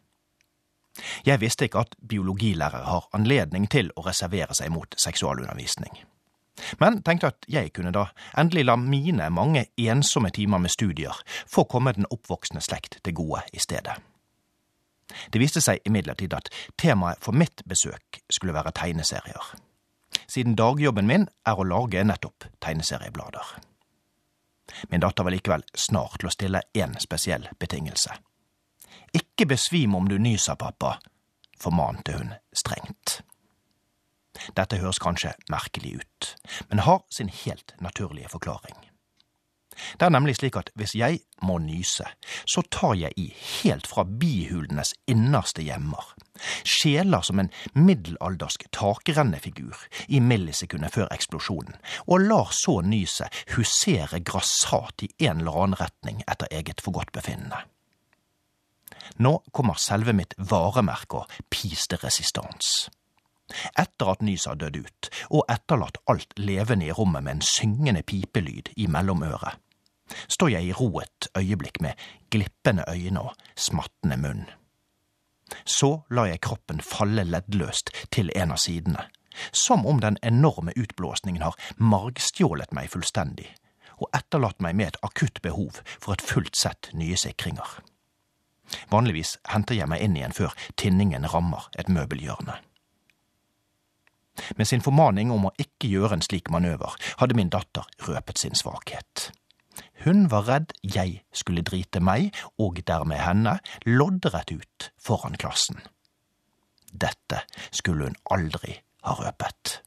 Speaker 7: Jeg visste ikke at biologilærere har anledning til å reservere seg mot seksualundervisning. Men tenkte at jeg kunne da endelig la mine mange ensomme timer med studier få komme den oppvoksende slekt til gode i stedet. Det viste seg imidlertid at temaet for mitt besøk skulle være tegneserier siden dagjobben min er å lage nettopp tegneserieblader. Min datter var likevel snart til å stille én spesiell betingelse. Ikke besvim om du nyser, pappa, formante hun strengt. Dette høres kanskje merkelig ut, men har sin helt naturlige forklaring. Det er nemlig slik at hvis jeg må nyse, så tar jeg i helt fra bihulenes innerste gjemmer. Skjeler som en middelaldersk takrennefigur i millisekundet før eksplosjonen, og lar så nyset husere grassat i en eller annen retning etter eget forgodtbefinnende. Nå kommer selve mitt varemerke og piste resistans. Etter at nyset har dødd ut, og etterlatt alt levende i rommet med en syngende pipelyd i mellomøret, står jeg i ro et øyeblikk med glippende øyne og smattende munn. Så lar jeg kroppen falle leddløst til en av sidene, som om den enorme utblåsningen har margstjålet meg fullstendig, og etterlatt meg med et akutt behov for et fullt sett nye sikringer. Vanligvis henter jeg meg inn igjen før tinningen rammer et møbelhjørne. Med sin formaning om å ikke gjøre en slik manøver hadde min datter røpet sin svakhet. Hun var redd jeg skulle drite meg, og dermed henne, loddrett ut foran klassen. Dette skulle hun aldri ha røpet.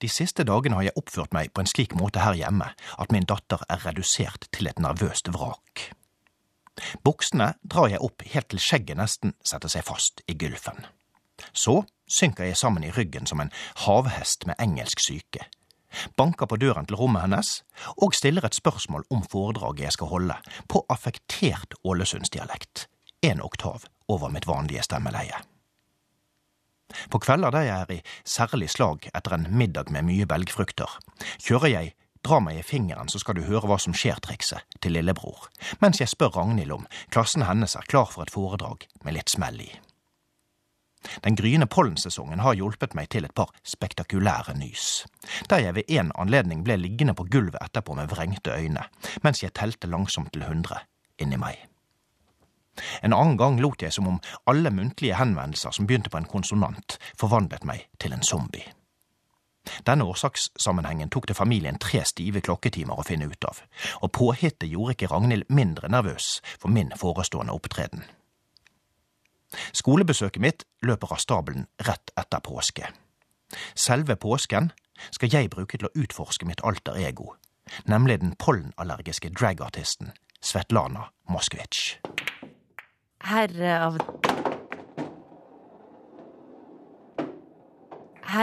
Speaker 7: De siste dagene har jeg oppført meg på en slik måte her hjemme at min datter er redusert til et nervøst vrak. Buksene drar jeg opp helt til skjegget nesten setter seg fast i gylfen. Så synker jeg sammen i ryggen som en havhest med engelsk syke. Banker på døren til rommet hennes og stiller et spørsmål om foredraget jeg skal holde, på affektert ålesundsdialekt, en oktav over mitt vanlige stemmeleie. På kvelder der jeg er i særlig slag etter en middag med mye belgfrukter, kjører jeg Dra meg i fingeren, så skal du høre hva som skjer-trikset til lillebror, mens jeg spør Ragnhild om klassen hennes er klar for et foredrag med litt smell i. Den gryende pollensesongen har hjulpet meg til et par spektakulære nys, der jeg ved en anledning ble liggende på gulvet etterpå med vrengte øyne, mens jeg telte langsomt til hundre inni meg. En annen gang lot jeg som om alle muntlige henvendelser som begynte på en konsonant, forvandlet meg til en zombie. Denne årsakssammenhengen tok det familien tre stive klokketimer å finne ut av, og påhittet gjorde ikke Ragnhild mindre nervøs for min forestående opptreden. Skolebesøket mitt løper av stabelen rett etter påske. Selve påsken skal jeg bruke til å utforske mitt alter ego, nemlig den pollenallergiske dragartisten Svetlana Moskvic.
Speaker 5: Herre av...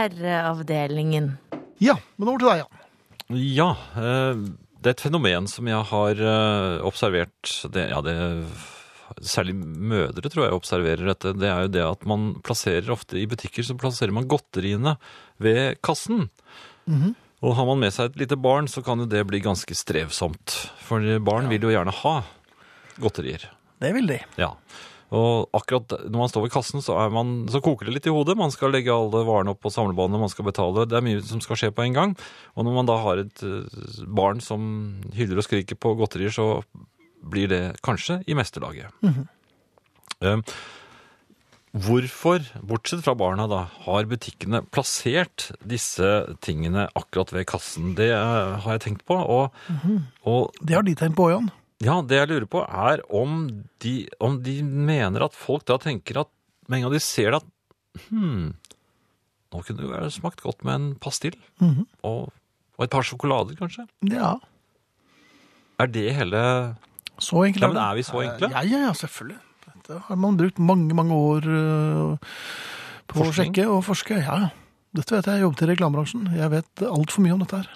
Speaker 5: Herreavdelingen.
Speaker 2: Ja, men over til deg, Jan.
Speaker 3: Ja, eh, det er et fenomen som jeg har eh, observert det, ja, det, Særlig mødre tror jeg observerer dette. Det er jo det at man plasserer ofte i butikker så plasserer man godteriene ved kassen. Og har man med seg et lite barn, så kan jo det bli ganske strevsomt. For barn vil jo gjerne ha godterier.
Speaker 2: Det vil de.
Speaker 3: Ja. Og akkurat når man står ved kassen, så, er man, så koker det litt i hodet. Man skal legge alle varene opp på samlebåndet, man skal betale. Det er mye som skal skje på en gang. Og når man da har et eh, barn som hyller og skriker på godterier, så blir det kanskje i meste laget. Eh, hvorfor, bortsett fra barna, da, har butikkene plassert disse tingene akkurat ved kassen? Det eh, har jeg tenkt på. Og, og
Speaker 2: Det har de tegn på, Jan.
Speaker 3: ja, det jeg lurer på er om de, om de mener at folk da tenker at med en gang de ser det at hmm, nå kunne det jo være smakt godt med en pastill og, og et par sjokolader kanskje.
Speaker 2: Ja,
Speaker 3: Er det hele
Speaker 2: så enkelt
Speaker 3: Ja, men er vi så enkle?
Speaker 2: Ja, ja, ja, selvfølgelig. Dette har man brukt mange, mange år øh, på å
Speaker 3: Forskning?
Speaker 2: sjekke og forske. Ja, ja. Dette vet jeg, jeg jobbet i reklamebransjen. Jeg vet altfor mye om dette her.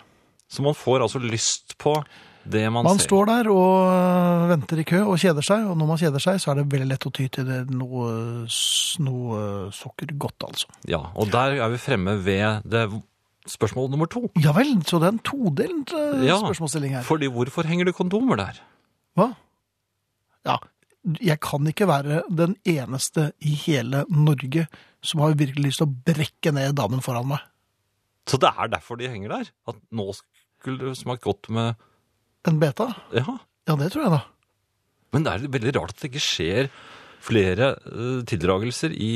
Speaker 3: Så man får altså lyst på det man,
Speaker 2: Man
Speaker 3: ser.
Speaker 2: står der og øh, venter i kø og kjeder seg, og når man kjeder seg, så er det veldig lett å ty til det noe, s- noe sukkergodt, altså.
Speaker 3: Ja, og der er vi fremme ved det spørsmål nummer to.
Speaker 2: Ja vel, så det er en todelt øh,
Speaker 3: Ja,
Speaker 2: spørsmålsstilling her.
Speaker 3: Fordi hvorfor henger det kondomer der?
Speaker 2: Hva? Ja, jeg kan ikke være den eneste i hele Norge som har virkelig lyst til å brekke ned damen foran meg.
Speaker 3: Så det er derfor de henger der? At nå skulle det smakt godt med
Speaker 2: En beta?
Speaker 3: Ja.
Speaker 2: Ja, det tror jeg da.
Speaker 3: Men det er veldig rart at det ikke skjer flere eh, tildragelser i,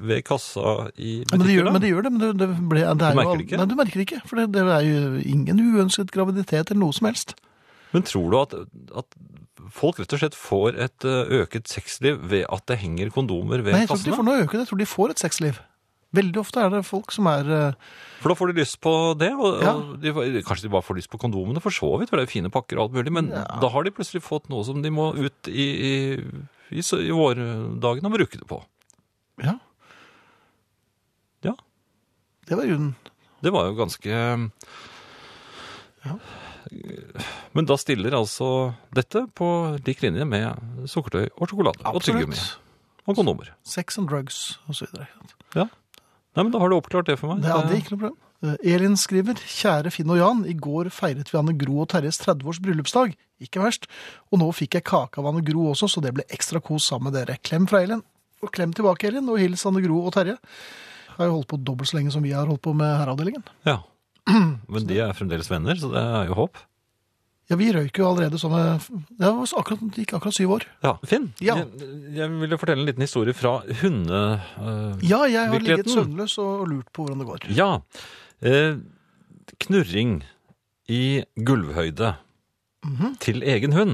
Speaker 3: ved kassa i
Speaker 2: Men det, gjør,
Speaker 3: butikker.
Speaker 2: men det
Speaker 3: da.
Speaker 2: gjør det, men det, det ble, det er jo,
Speaker 3: Du merker det ikke?
Speaker 2: Nei, du merker det ikke, for det, det er jo ingen uønsket graviditet eller noe som helst.
Speaker 3: Men tror du at, at folk rett og slett får et eh, øket sexliv ved at det henger kondomer ved
Speaker 2: Nei, jeg tror ikke de
Speaker 3: kassene?
Speaker 2: får noe øke det, jeg tror de får et sexliv. Veldig ofte er det folk som er eh,
Speaker 3: For da får de lyst på det, og,
Speaker 2: Ja.
Speaker 3: og de, får- kanskje de bare får lyst på kondomene, for så vidt, for det er jo fine pakker og alt mulig, men da har de plutselig fått noe som de må ut i, i, i, så- i vårdagen og bruke det på.
Speaker 2: Ja.
Speaker 3: Ja.
Speaker 2: Det var grunnen.
Speaker 3: Det var jo ganske Men da stiller altså dette på lik linje med sukkertøy og sjokolade og tyggegummi og kondomer.
Speaker 2: Sex and drugs og så videre.
Speaker 3: Nei, men Da har du oppklart det for meg.
Speaker 2: Det hadde ikke noe problem. Eh, Elin skriver Kjære Finn og Jan. I går feiret vi Anne Gro og Terjes 30-års bryllupsdag. Ikke verst. Og nå fikk jeg kake av Anne Gro også, så det ble ekstra kos sammen med dere. Klem fra Elin. Og klem tilbake, Elin. Og hils Anne Gro og Terje. Jeg har jo holdt på dobbelt så lenge som vi har holdt på med herreavdelingen. (clears throat)
Speaker 3: Ja. Men de er fremdeles venner, så det er jo håp.
Speaker 2: Ja, vi røyk jo allerede sånne Det var så akkurat, det gikk akkurat syv år.
Speaker 3: Ja, Finn,
Speaker 2: Ja.
Speaker 3: Jeg, jeg ville fortelle en liten historie fra hunde... eh,
Speaker 2: Ja, jeg har ligget
Speaker 3: Virkeligheten.
Speaker 2: søvnløs og lurt på hvordan det går.
Speaker 3: ja. Eh, knurring i gulvhøyde til egen hund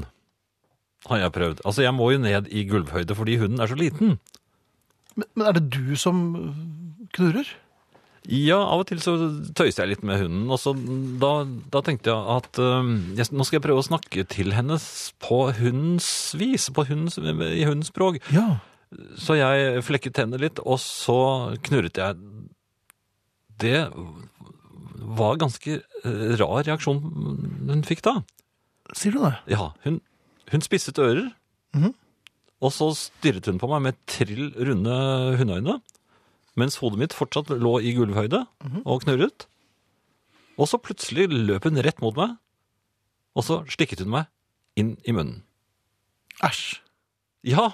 Speaker 3: har jeg prøvd. Altså, jeg må jo ned i gulvhøyde fordi hunden er så liten.
Speaker 2: Men, men er det du som øh, knurrer?
Speaker 3: Ja, av og til så tøyser jeg litt med hunden, og så da, da tenkte jeg at øhm, jeg, nå skal jeg prøve å snakke til henne s- på hundens vis, på hundens, i hundens språk.
Speaker 2: Ja.
Speaker 3: Så jeg flekket tennene litt, og så knurret jeg. Det var ganske eh, rar reaksjon hun fikk da.
Speaker 2: Sier du det?
Speaker 3: Ja, hun, hun spisset ører,
Speaker 2: Mhm.
Speaker 3: og så stirret hun på meg med trill runde hundeøyne, mens hodet mitt fortsatt lå i gulvhøyde og knurret. Og så plutselig løp hun rett mot meg, og så slikket hun meg inn i munnen.
Speaker 2: Æsj.
Speaker 3: Ja,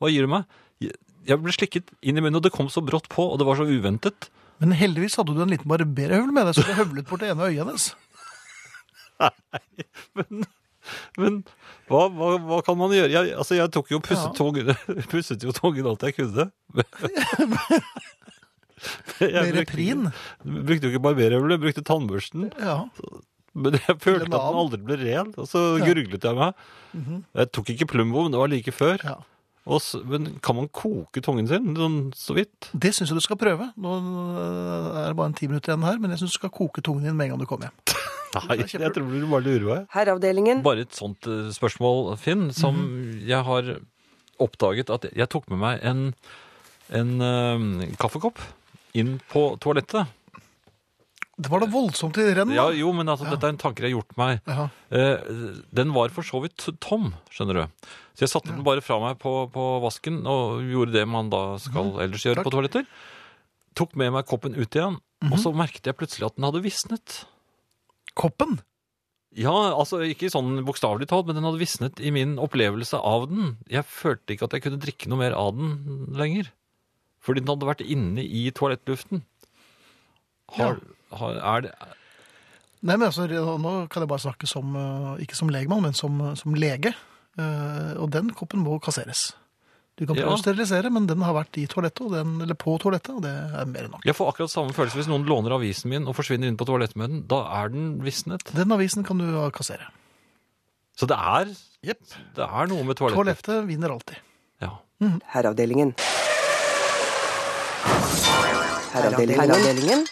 Speaker 3: hva gir du meg? Jeg- Jeg ble slikket inn i munnen, og det kom så brått på, og det var så uventet.
Speaker 2: Men heldigvis hadde du en liten barberhøvel med deg, så du høvlet bort det ene øyet (laughs) hennes.
Speaker 3: Men hva, hva, hva kan man gjøre? Jeg, altså, jeg tok jo pusset,
Speaker 2: Ja.
Speaker 3: tungen, (laughs) pusset jo tungen alt jeg
Speaker 2: (laughs)
Speaker 3: kunne. Men- Men jeg
Speaker 2: Med
Speaker 3: brukte-
Speaker 2: reprin.
Speaker 3: Brukte jo ikke barberhøvel, jeg brukte tannbørsten.
Speaker 2: Ja.
Speaker 3: Men jeg følte at
Speaker 2: en
Speaker 3: den
Speaker 2: annen.
Speaker 3: aldri ble ren, og så
Speaker 2: Ja. Mhm.
Speaker 3: gurglet jeg meg. Jeg tok ikke Plumbo, men det var like før.
Speaker 2: ja.
Speaker 3: Og så, men kan man koke tungen sin sånn så vidt?
Speaker 2: Det syns jeg du skal prøve. Nå øh, er det bare en ti minutter igjen her, men jeg syns du skal koke tungen din med en gang du kommer hjem.
Speaker 3: Nei, jeg
Speaker 2: kjempe-
Speaker 3: tror du bare lurer meg.
Speaker 1: Herreavdelingen.
Speaker 3: Bare et sånt eh, spørsmål, Finn, som jeg har oppdaget at jeg tok med meg en, en eh, kaffekopp inn på toalettet.
Speaker 2: Det var da voldsomt i renn.
Speaker 3: Ja, jo, men altså, dette er en tanke jeg har gjort meg.
Speaker 2: Ja.
Speaker 3: Eh, den var for så vidt tom, skjønner du. Så jeg satte den bare fra meg på, på vasken og gjorde det man da skal ellers gjøre
Speaker 2: Takk.
Speaker 3: på toaletter. Tok med meg koppen ut igjen, og så merket jeg plutselig at den hadde visnet.
Speaker 2: Koppen.
Speaker 3: Ja, altså ikke sånn bokstavelig talt, men den hadde visnet i min opplevelse av den. Jeg følte ikke at jeg kunne drikke noe mer av den lenger. Fordi den hadde vært inne i toalettluften. Har, har, er det,
Speaker 2: Nei, men altså, Nå kan jeg bare snakke som, øh, ikke som legemann, men som, som lege. Eh, Og den koppen må kasseres. Du kan prøve
Speaker 3: Ja.
Speaker 2: å sterilisere, men den har vært i toalettet, og den, eller på toalettet, og det er mer enn nok.
Speaker 3: Jeg får akkurat samme følelse hvis noen låner avisen min og forsvinner inn på toalettet med den. Da er den visnet.
Speaker 2: Den avisen kan du øh, kassere.
Speaker 3: Så det er,
Speaker 2: Jepp.
Speaker 3: det er noe med toalettet.
Speaker 2: Toalettet vinner alltid.
Speaker 3: Ja.
Speaker 1: Herreavdelingen. Herreavdelingen.